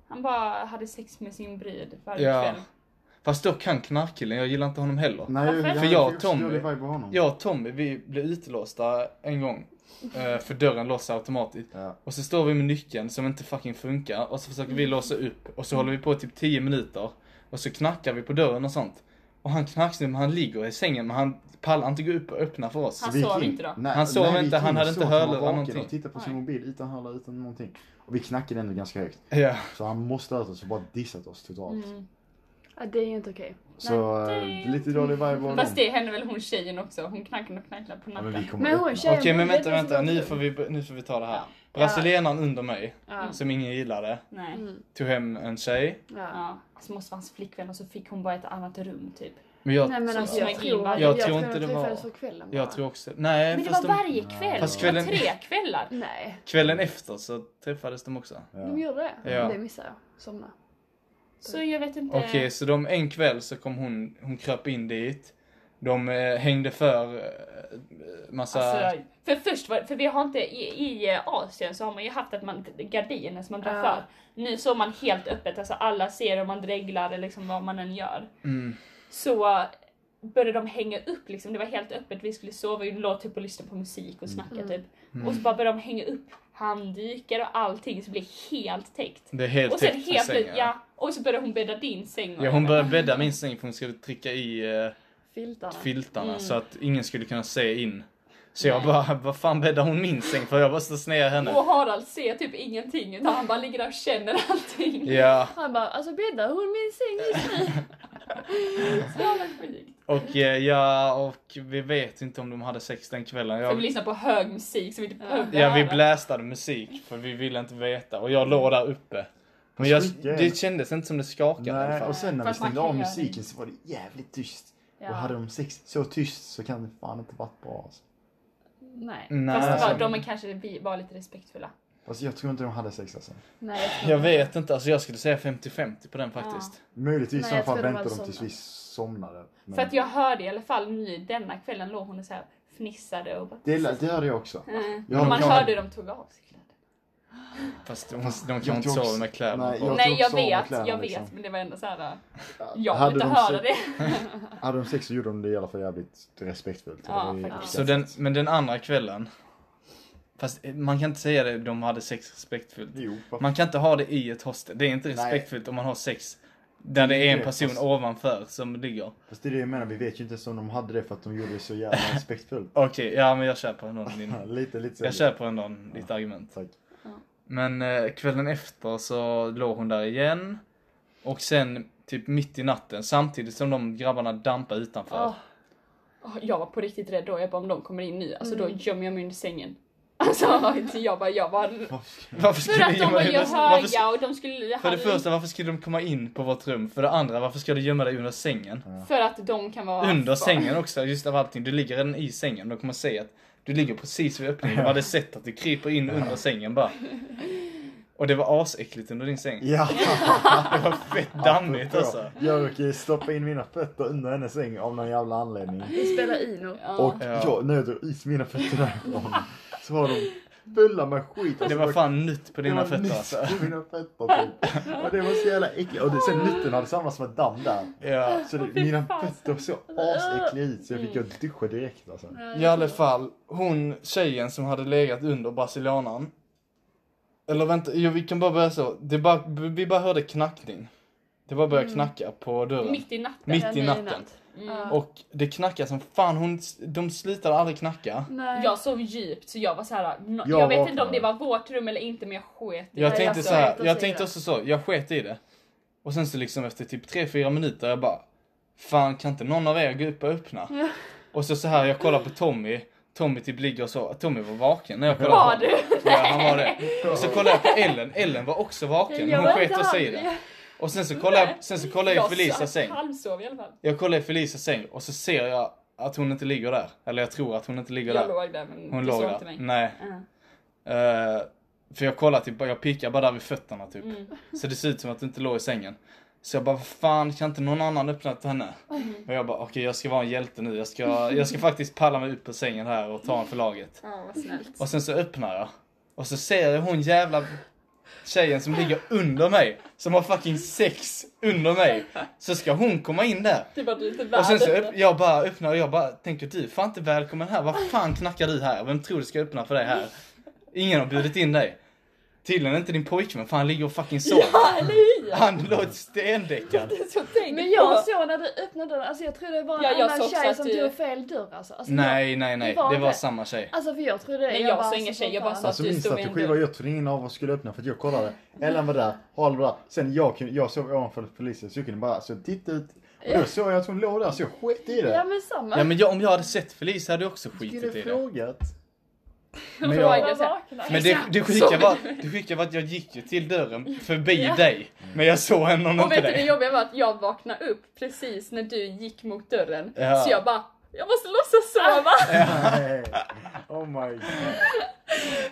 Han bara hade sex med sin brud varje Ja. kväll. Fast dock han knarkkillen, jag gillar inte honom heller. Nej, Varför? För jag och fick också Tommy- dålig vibe av honom. Jag och Tommy vi blev utlåsta en gång. eh, För dörren låser automatiskt. Ja. Och så står vi med nyckeln som inte fucking funkar och så försöker vi låsa upp och så håller vi på i typ 10 minuter. Och så knackar vi på dörren och sånt. Och han knacksnubben han ligger i sängen men han pallar inte gå upp och öppna för oss. Han Vi gick sov in. inte då? Nej, Han sov nej, vi inte, gick han in hade så inte att han var hörlurar, vaken någonting. Och tittade på sin Nej. mobil utan hörlurar, utan någonting. Och vi knackade ändå ganska högt. Ja. Så han måste ha hört oss och bara dissat oss totalt. Mm. Ja, det är ju inte okej. Så Nej, eh, det är- lite dålig vibe av honom. Fast det hände väl hon tjejen också? Hon knackade och knackade på Ja, men vi natten. kommer Men hon öppna. Okej tjejen men bodde i vänta ett vänta, nu residensrum. får, vi, nu får vi ta det här. Ja. Brasilianaren under mig, Ja. som ingen gillade, Nej. Mm. tog hem en tjej. Ja. Ja. Alltså måste vara hans flickvän och så fick hon bara ett annat rum typ. Men jag, Nej men alltså som jag en tror, gimbal. Jag jag tror tror inte de det var- träffades för kvällen bara. jag tror också... Nej Men det fast var de, varje kväll! Fast Det var kvällen- tre kvällar! Nej, kvällen efter så träffades de också. Eh. de Ja. gjorde det. Ja. Det missade jag. Somna. Så jag vet inte... Okej, så de, en kväll så kom hon, hon kröp in dit. De eh, hängde för eh, massa... Alltså, för först var, för vi har inte, i, i eh, Asien så har man ju haft att man, gardiner som man drar Ja. för. Nu såg man helt öppet, alltså alla ser om man dreglar eller liksom vad man än gör. mm, Så eh, började de hänga upp liksom, det var helt öppet, vi skulle sova, vi låg typ och lyssnade på musik och Mm. snacka typ. Och så bara började de hänga upp handdukar och allting så det blev helt täckt. det är helt Och sen täckt för helt plötsligt, sängen. ja, Mm. och så började hon bädda din säng. och Ja, hon det. började bädda min säng för hon skulle trycka i eh, Filtarna. filtarna Mm. så att ingen skulle kunna se in. Så jag bara, vad fan bäddar hon min säng för? Jag bara står sned henne. Och Harald ser typ ingenting utan han bara ligger där och känner allting. Ja, Han bara, alltså bäddar hon min säng just nu? Så det var väldigt sjukt. och eh, ja, och vi vet inte om de hade sex den kvällen. För vi Jag, lyssnade på hög musik som vi inte behövde ja, vi höra. blästade musik för vi ville inte veta och jag låg där uppe. Men jag, det kändes inte som det skakade i alla Nej, fall. och sen när vi Fast man stängde kan av göra musiken så var det jävligt tyst. Ja. Och hade de sex så tyst så kan det fan inte varit bra alltså. Nej. Nej. Fast det var, alltså, de är kanske vi var lite respektfulla. Alltså jag tror inte de hade sex alltså. Nej, tror Jag inte. vet inte, alltså jag skulle säga 50-50 på den faktiskt. Möjligtvis Nej, i alla jag fall tror de väntade hade de tills vi somnade. Men För att jag hörde i alla fall nu denna kvällen låg hon och så här fnissade och bara... det, lät- det hörde jag också. Mm. Ja, och man jag- hörde hur de tog av sig kläderna. Fast de, de kan inte tror också- sova med kläderna nej, på. jag- Nej tog jag också av mig vet, kläderna, jag liksom. vet men det var ändå såhär, jag Hade vill de inte höra sex- det. Hade de sex så gjorde de det i alla fall jävligt respektfullt. Ja, Och det- faktiskt. Så den, men den andra kvällen. Fast eh, man kan inte säga det, de hade sex respektfullt. Jo, varför- Man kan inte ha det i ett hostel. Det är inte respektfullt om man har sex där det är en Nej, person fast- ovanför som ligger. Fast det är det jag menar, vi vet ju inte ens om de hade det för att de gjorde det så jävla respektfullt. Okej, ja men jag köper ändå din... lite, lite så. Jag köper ändå ditt argument. Tack. Men eh, kvällen efter så låg hon där igen. Och sen typ mitt i natten samtidigt som de grabbarna dampade utanför. Åh. Åh, Jag var på riktigt rädd då, jag bara om de kommer in nu, alltså då gömmer jag mig under sängen. Alltså jag bara, jag bara... Varför För att de var ju varför, höga och de skulle... För det första, varför skulle de komma in på vårt rum? För det andra, varför ska du gömma dig under sängen? För att de kan vara... Under sängen också, just av allting. Du ligger redan i sängen. De kommer se att du ligger precis vid öppningen. De hade sett att du kryper in under sängen bara. Och det var asäckligt under din säng. Ja, Det var fett dammigt alltså. Jag råkade stoppa in mina fötter under hennes säng av någon jävla anledning. Vi spelar Ino. Ja. Och Ja. jag, när jag drog is mina fötter därifrån så var de fulla med skit. Det Alltså, var fan nytt på det dina var nytt fötter alltså. på mina fötter typ. Och det var så jävla äckligt. Och det, sen nytten hade samlats med damm där. Ja. Så det, fy mina fan. Mm. fötter såg asäckliga ut så jag fick gå och duscha direkt alltså. I alla fall, hon tjejen som hade legat under brasilianaren. Eller vänta, jo, vi kan bara börja så. Det bara, vi bara hörde knackning. Det bara började knacka på dörren. Mitt i natten. Mitt Ja, i i natten. natt. Mm. Ja. Och det knackar som fan, hon, de slutade aldrig knacka. Nej. Jag sov djupt så jag var så här. no- Jag jag vet vaknade. inte om det var vårt rum eller inte men jag sket i Jag Nej, tänkte jag så här, sket också jag i tänkte det. också så, jag sket i det. Och sen så liksom efter typ 3-4 minuter, jag bara Fan kan inte någon av er gå upp och öppna? Och så så här, jag kollar på Tommy, Tommy typ ligger och så, Tommy var vaken när jag kollade på Var honom. du? Ja, han var det. Och så kollar jag på Ellen, Ellen var också vaken, hon var sket inte också i han. det. Och sen så kollar jag, sen så kollar jag i Felicias säng. halvsov i alla fall. Jag kollar i Felicias säng och så ser jag att hon inte ligger där. Eller jag tror att hon inte ligger Jag där. låg där men Hon du låg såg inte där. mig. Nej. Ja. Eh, för jag kollar typ, jag pickar bara där vid fötterna typ. Mm. Så det ser ut som att du inte låg i sängen. Så jag bara, vad fan kan inte någon annan öppna till henne? Mm. Och jag bara, okej jag ska vara en hjälte nu. Jag ska, jag ska faktiskt palla mig upp på sängen här och ta en för laget. Ja, vad snällt. Och sen så öppnar jag. Och så ser jag hon jävla tjejen som ligger under mig. Som har fucking sex under mig. Så ska hon komma in där. Det var du inte Och sen så värd. öpp- jag bara öppnar och jag bara tänker du är fan inte välkommen här. Vad fan knackar du här? Vem tror du ska öppna för dig här? Ingen har bjudit in dig. Tydligen inte din pojkvän för han ligger och fucking sover. Ja, eller hur? Han låg stendäckad. Det är så tänkt Men på. jag såg när du öppnade dörren, alltså jag trodde det var en Ja, jag såg annan också tjej att som du- tog fel dörr alltså. alltså Nej, nej, nej. Det var Det var inte. samma tjej. Jag, alltså för jag trodde det. Nej, jag såg ingen tjej, jag bara fan. såg- Alltså du min stod vid en strategi dörr. var ju att ingen av oss skulle öppna för att jag kollade. Ellen var där, Harald var där. Sen jag, kunde- jag såg ovanför Felicia så jag kunde bara så titta ut. Och då såg jag att hon låg där så jag sket i Ja det. men samma. Ja men jag, om jag hade sett Felicia hade jag också Skulle skitit i det. frågat. Men, jag- jag, Jag var vaknad. men det, det sjuka var, det sjuka var att jag gick ju till dörren förbi dig. Men jag såg henne och Och inte vet du det dig. jobbiga var att jag vaknade upp precis när du gick mot dörren. Ja. Så jag bara, jag måste låtsas sova. Nej. Oh my god.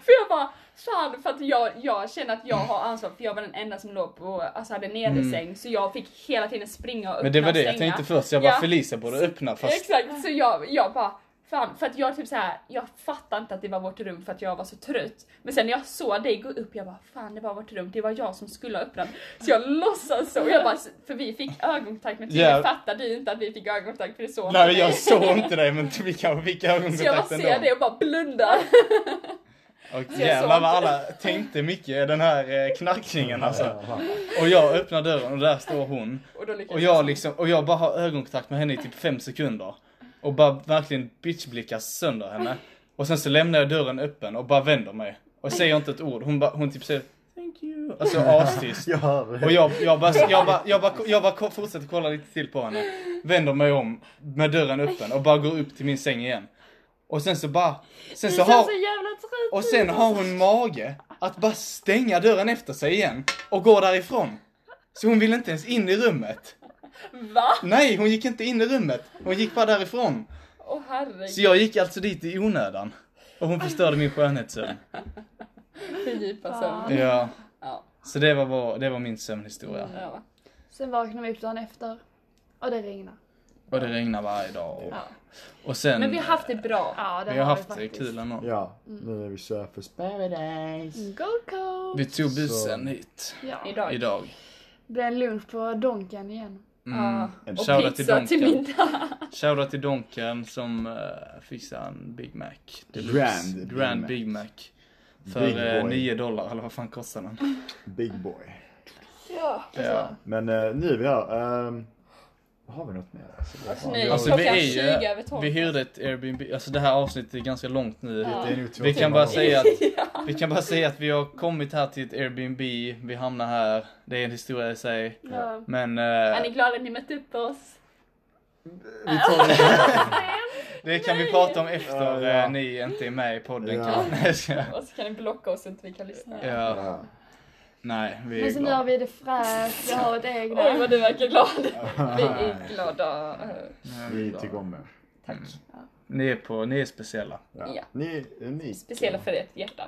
för jag bara, fan för att jag, jag känner att jag har ansvar för jag var den enda som låg på, alltså hade nedersäng. Så jag fick hela tiden springa och öppna Mm. Men det var och det jag stänga. tänkte först. Jag bara Ja. Felicia borde öppna fast Exakt, så jag, jag bara Fan, för att jag typ så här, jag fattade inte att det var vårt rum för att jag var så trött. Men sen när jag såg dig gå upp, jag bara fan det var vårt rum, det var jag som skulle ha öppnat. Så jag låtsas så, och jag bara, för vi fick ögonkontakt men tydligen Ja. fattade du inte att vi fick ögonkontakt för det såg inte Nej jag dig. såg inte dig men vi kanske fick Så jag bara ögonkontakt ser ändå. det och bara blundar. Och såg jävlar vad inte alla tänkte mycket i den här eh, knackningen alltså. Och jag öppnar dörren och där står hon. Och då lyckas Och jag liksom, och jag bara har ögonkontakt med henne i typ fem sekunder. Och bara verkligen bitchblickar sönder henne. Och sen så lämnar jag dörren öppen och bara vänder mig. Och säger inte ett ord. Hon, bara, hon typ säger Thank you. Alltså astyst. Jag hör det. Och jag, jag, bara, jag, bara, jag, bara, jag bara fortsätter kolla lite till på henne. Vänder mig om med dörren öppen och bara går upp till min säng igen. Och sen så bara... Sen Du så ser har, så jävla trött och sen har hon mage att bara stänga dörren efter sig igen och går därifrån. Så hon ville inte ens in i rummet. Va? Nej, hon gick inte in i rummet. Hon gick bara därifrån. Åh herregud. Så jag gick alltså dit i onödan. Och hon förstörde min skönhetssömn. Fördjupa Fan. sömn. Ja. Ja. Så det var, vår, det var min sömnhistoria. Ja. Sen vaknade vi upp dagen efter och det regnade. Och det regnar varje dag. Och, Ja. och sen... Men vi har haft det bra. Ja, det vi har haft det faktiskt. kul ändå. Ja, nu är vi surfers paradise. Mm, Gold Coast! Vi tog bussen Så- hit Ja. Idag. idag. Det blev en lunch på Donken igen. Mm. Ja. Och Shoutout till pizza till Donken. middag. Shoutout till Donken som uh, fixade en Big Mac. Deluxe. Grand Big Grand Mac. Big Mac. För Big eh, boy. 9 dollar, eller vad fan kostar den? Big boy. Ja. Ja. Men eh, nu är vi här. ehm, har vi något mer? Så bra. Alltså, nu- Alltså vi Klockan är 20 över ju, 12. vi hyrde ett Airbnb, alltså det här avsnittet är ganska långt nu. Ja. Det är nog två Vi kan timmar bara kvar. säga att, vi kan bara säga att vi har kommit här till ett Airbnb, vi hamnar här, det är en historia i sig. Ja. Men Är eh, ni glada att ni mötte upp oss? Vi tar det. det kan vi prata om efter Ja, ja. eh, ni inte är med i podden Ja. kanske. Ja. Och så kan ni blocka oss så inte vi kan lyssna. Ja. Nej, vi är Men så nu glada. har vi det fräscht, vi har ett Oj eget. vad du verkar glad. Vi är glada. Eh, Vi tycker om er. Tack. Mm. Ni är, på, ni är speciella. Ja. Ni är unika. Speciella för ert hjärta.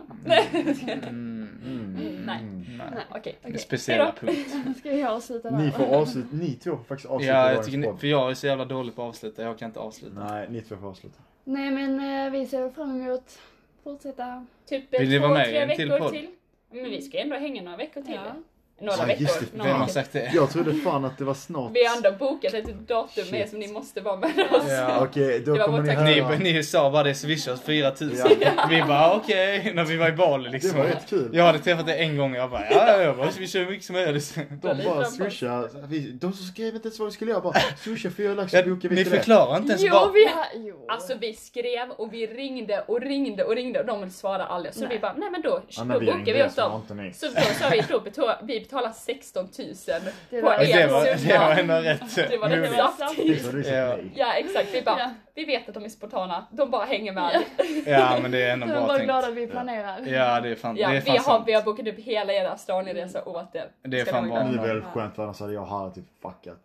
Mm. Nej. Nej. Nej, Okej. Det är okej. speciella Hejdå. punkt. Ska jag avsluta där? Ni får avsluta, ni två får faktiskt avsluta Ja, jag dagens tycker ni, podd. för jag är så jävla dålig på att avsluta, jag kan inte avsluta. Nej, ni två får avsluta. Nej men eh, vi ser fram emot fortsätta. Typ Vill ni två, vara med i tre en till veckor podd? till. Men vi ska ju ändå hänga några veckor till. Ja. Några Ja, just det. veckor. Vem Några har veckor. sagt det? Jag trodde fan att det var snart. Vi har ändå bokat ett datum med Shit. som ni måste vara med oss. Ja. Okej, då Det var kommer vår ni taktik. höra. Ni, ni sa bara det swishar 4000. Ja. Vi bara okej, när vi var i Bali Det liksom. var rätt kul. Jag hade träffat dig en gång och jag bara ja, ja, ja, bara, vi kör hur mycket som helst. De bara Lite swishar. Vi- De som skrev inte ens vad vi skulle göra bara swisha fyra lax Ja, så bokar vi ni till det. förklarar inte ens Jo vad... vi har, jo. Alltså vi skrev och vi ringde och ringde och ringde och de svarade aldrig. Så Nej. vi bara, nej men då, då Anna vi bokar vi ringde oss så dem. inte ni. Så då sa vi, då betala, vi betalar 16 000 Det på var- Det en var, det var summa. ändå rätt. Det var det roligt. bra. exakt. Det var du som Ja. nej. Ja exakt, vi bara, Ja. vi vet att de är spontana, de bara hänger med. Ja. Ja men det är ändå Jag är bra bara tänkt. glad att vi planerar. Ja det är fan, Ja, det är vi, fan har, sant. Mm. vi har bokat upp hela era Australienresa åt er. Det är Ska fan ni bra. vara Nu glada? är det väl skönt för annars hade jag och Harry typ fuckat.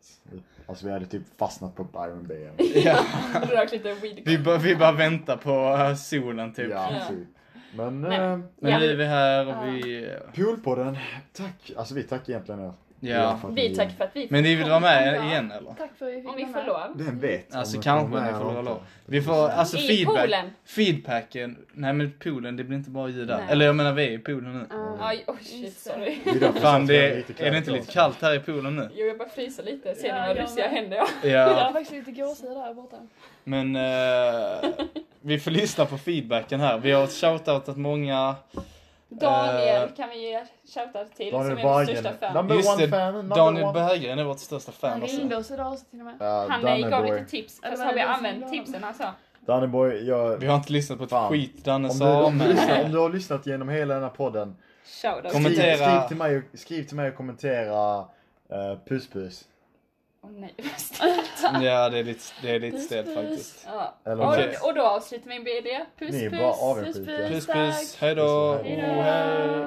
Alltså vi hade typ fastnat på Byron Bay. Ja. Rökt lite weed. Vi, bara- vi bara väntar på eh, solen typ. Ja, Ja. typ. Men Nej. eh, Men Ja. nu är vi här och Ja. vi... eh, Poolpodden, tack. Alltså vi tackar egentligen er. Ja. för att Vi tackar för att vi Men ni vill vara med Ja. igen eller? Tack för att vi fick Om vi vara får med. lov. Vem vet? om Alltså vi kanske kommer ni med får eller lov. inte. Vi får, alltså I feedback. poolen. Feedbacken, nej men poolen det blir inte bara ljud där. Nej. Eller jag menar vi är i poolen nu. Ja. Aj, oh shit, sorry. Det är därför Fan vi det, har lite är det inte kläder lite kallt här i poolen nu? Jo, jag bara fryser lite. Ser ni Ja, några jag ryssiga med. händer? Ja. Jag har Ja, faktiskt lite gåshud där borta. men eh, vi får lyssna på feedbacken här. Vi har shoutoutat många. Daniel Eh, kan vi ge shoutout till Daniel som är vår största Berggren. fan. Number Just one det, fan, number Daniel one. Berggren är vårt största fan Han också. ringde oss idag också till och med. Ja, Han eh, gav Danneboy. lite tips, Ja, det fast var har vi det som var använt bra. tipsen han sa? Danneboy, jag... Vi har inte lyssnat på ett Fan. skit Danne Om du, om, du men lyssnar, om du har lyssnat genom hela den här podden, Shoutout. Kommer- skriv, Kommentera. skriv, till, mig, och- skriv till mig och kommentera eh, puss puss. Åh, nej, vad stelt. ja det är lite, det är lite stelt faktiskt. Ja. Eller Och, Okej. och då avslutar vi med det. Puss Ni är bara puss! avundsjuka. Puss puss. puss, hejdå! Puss, hej. Oh, hej.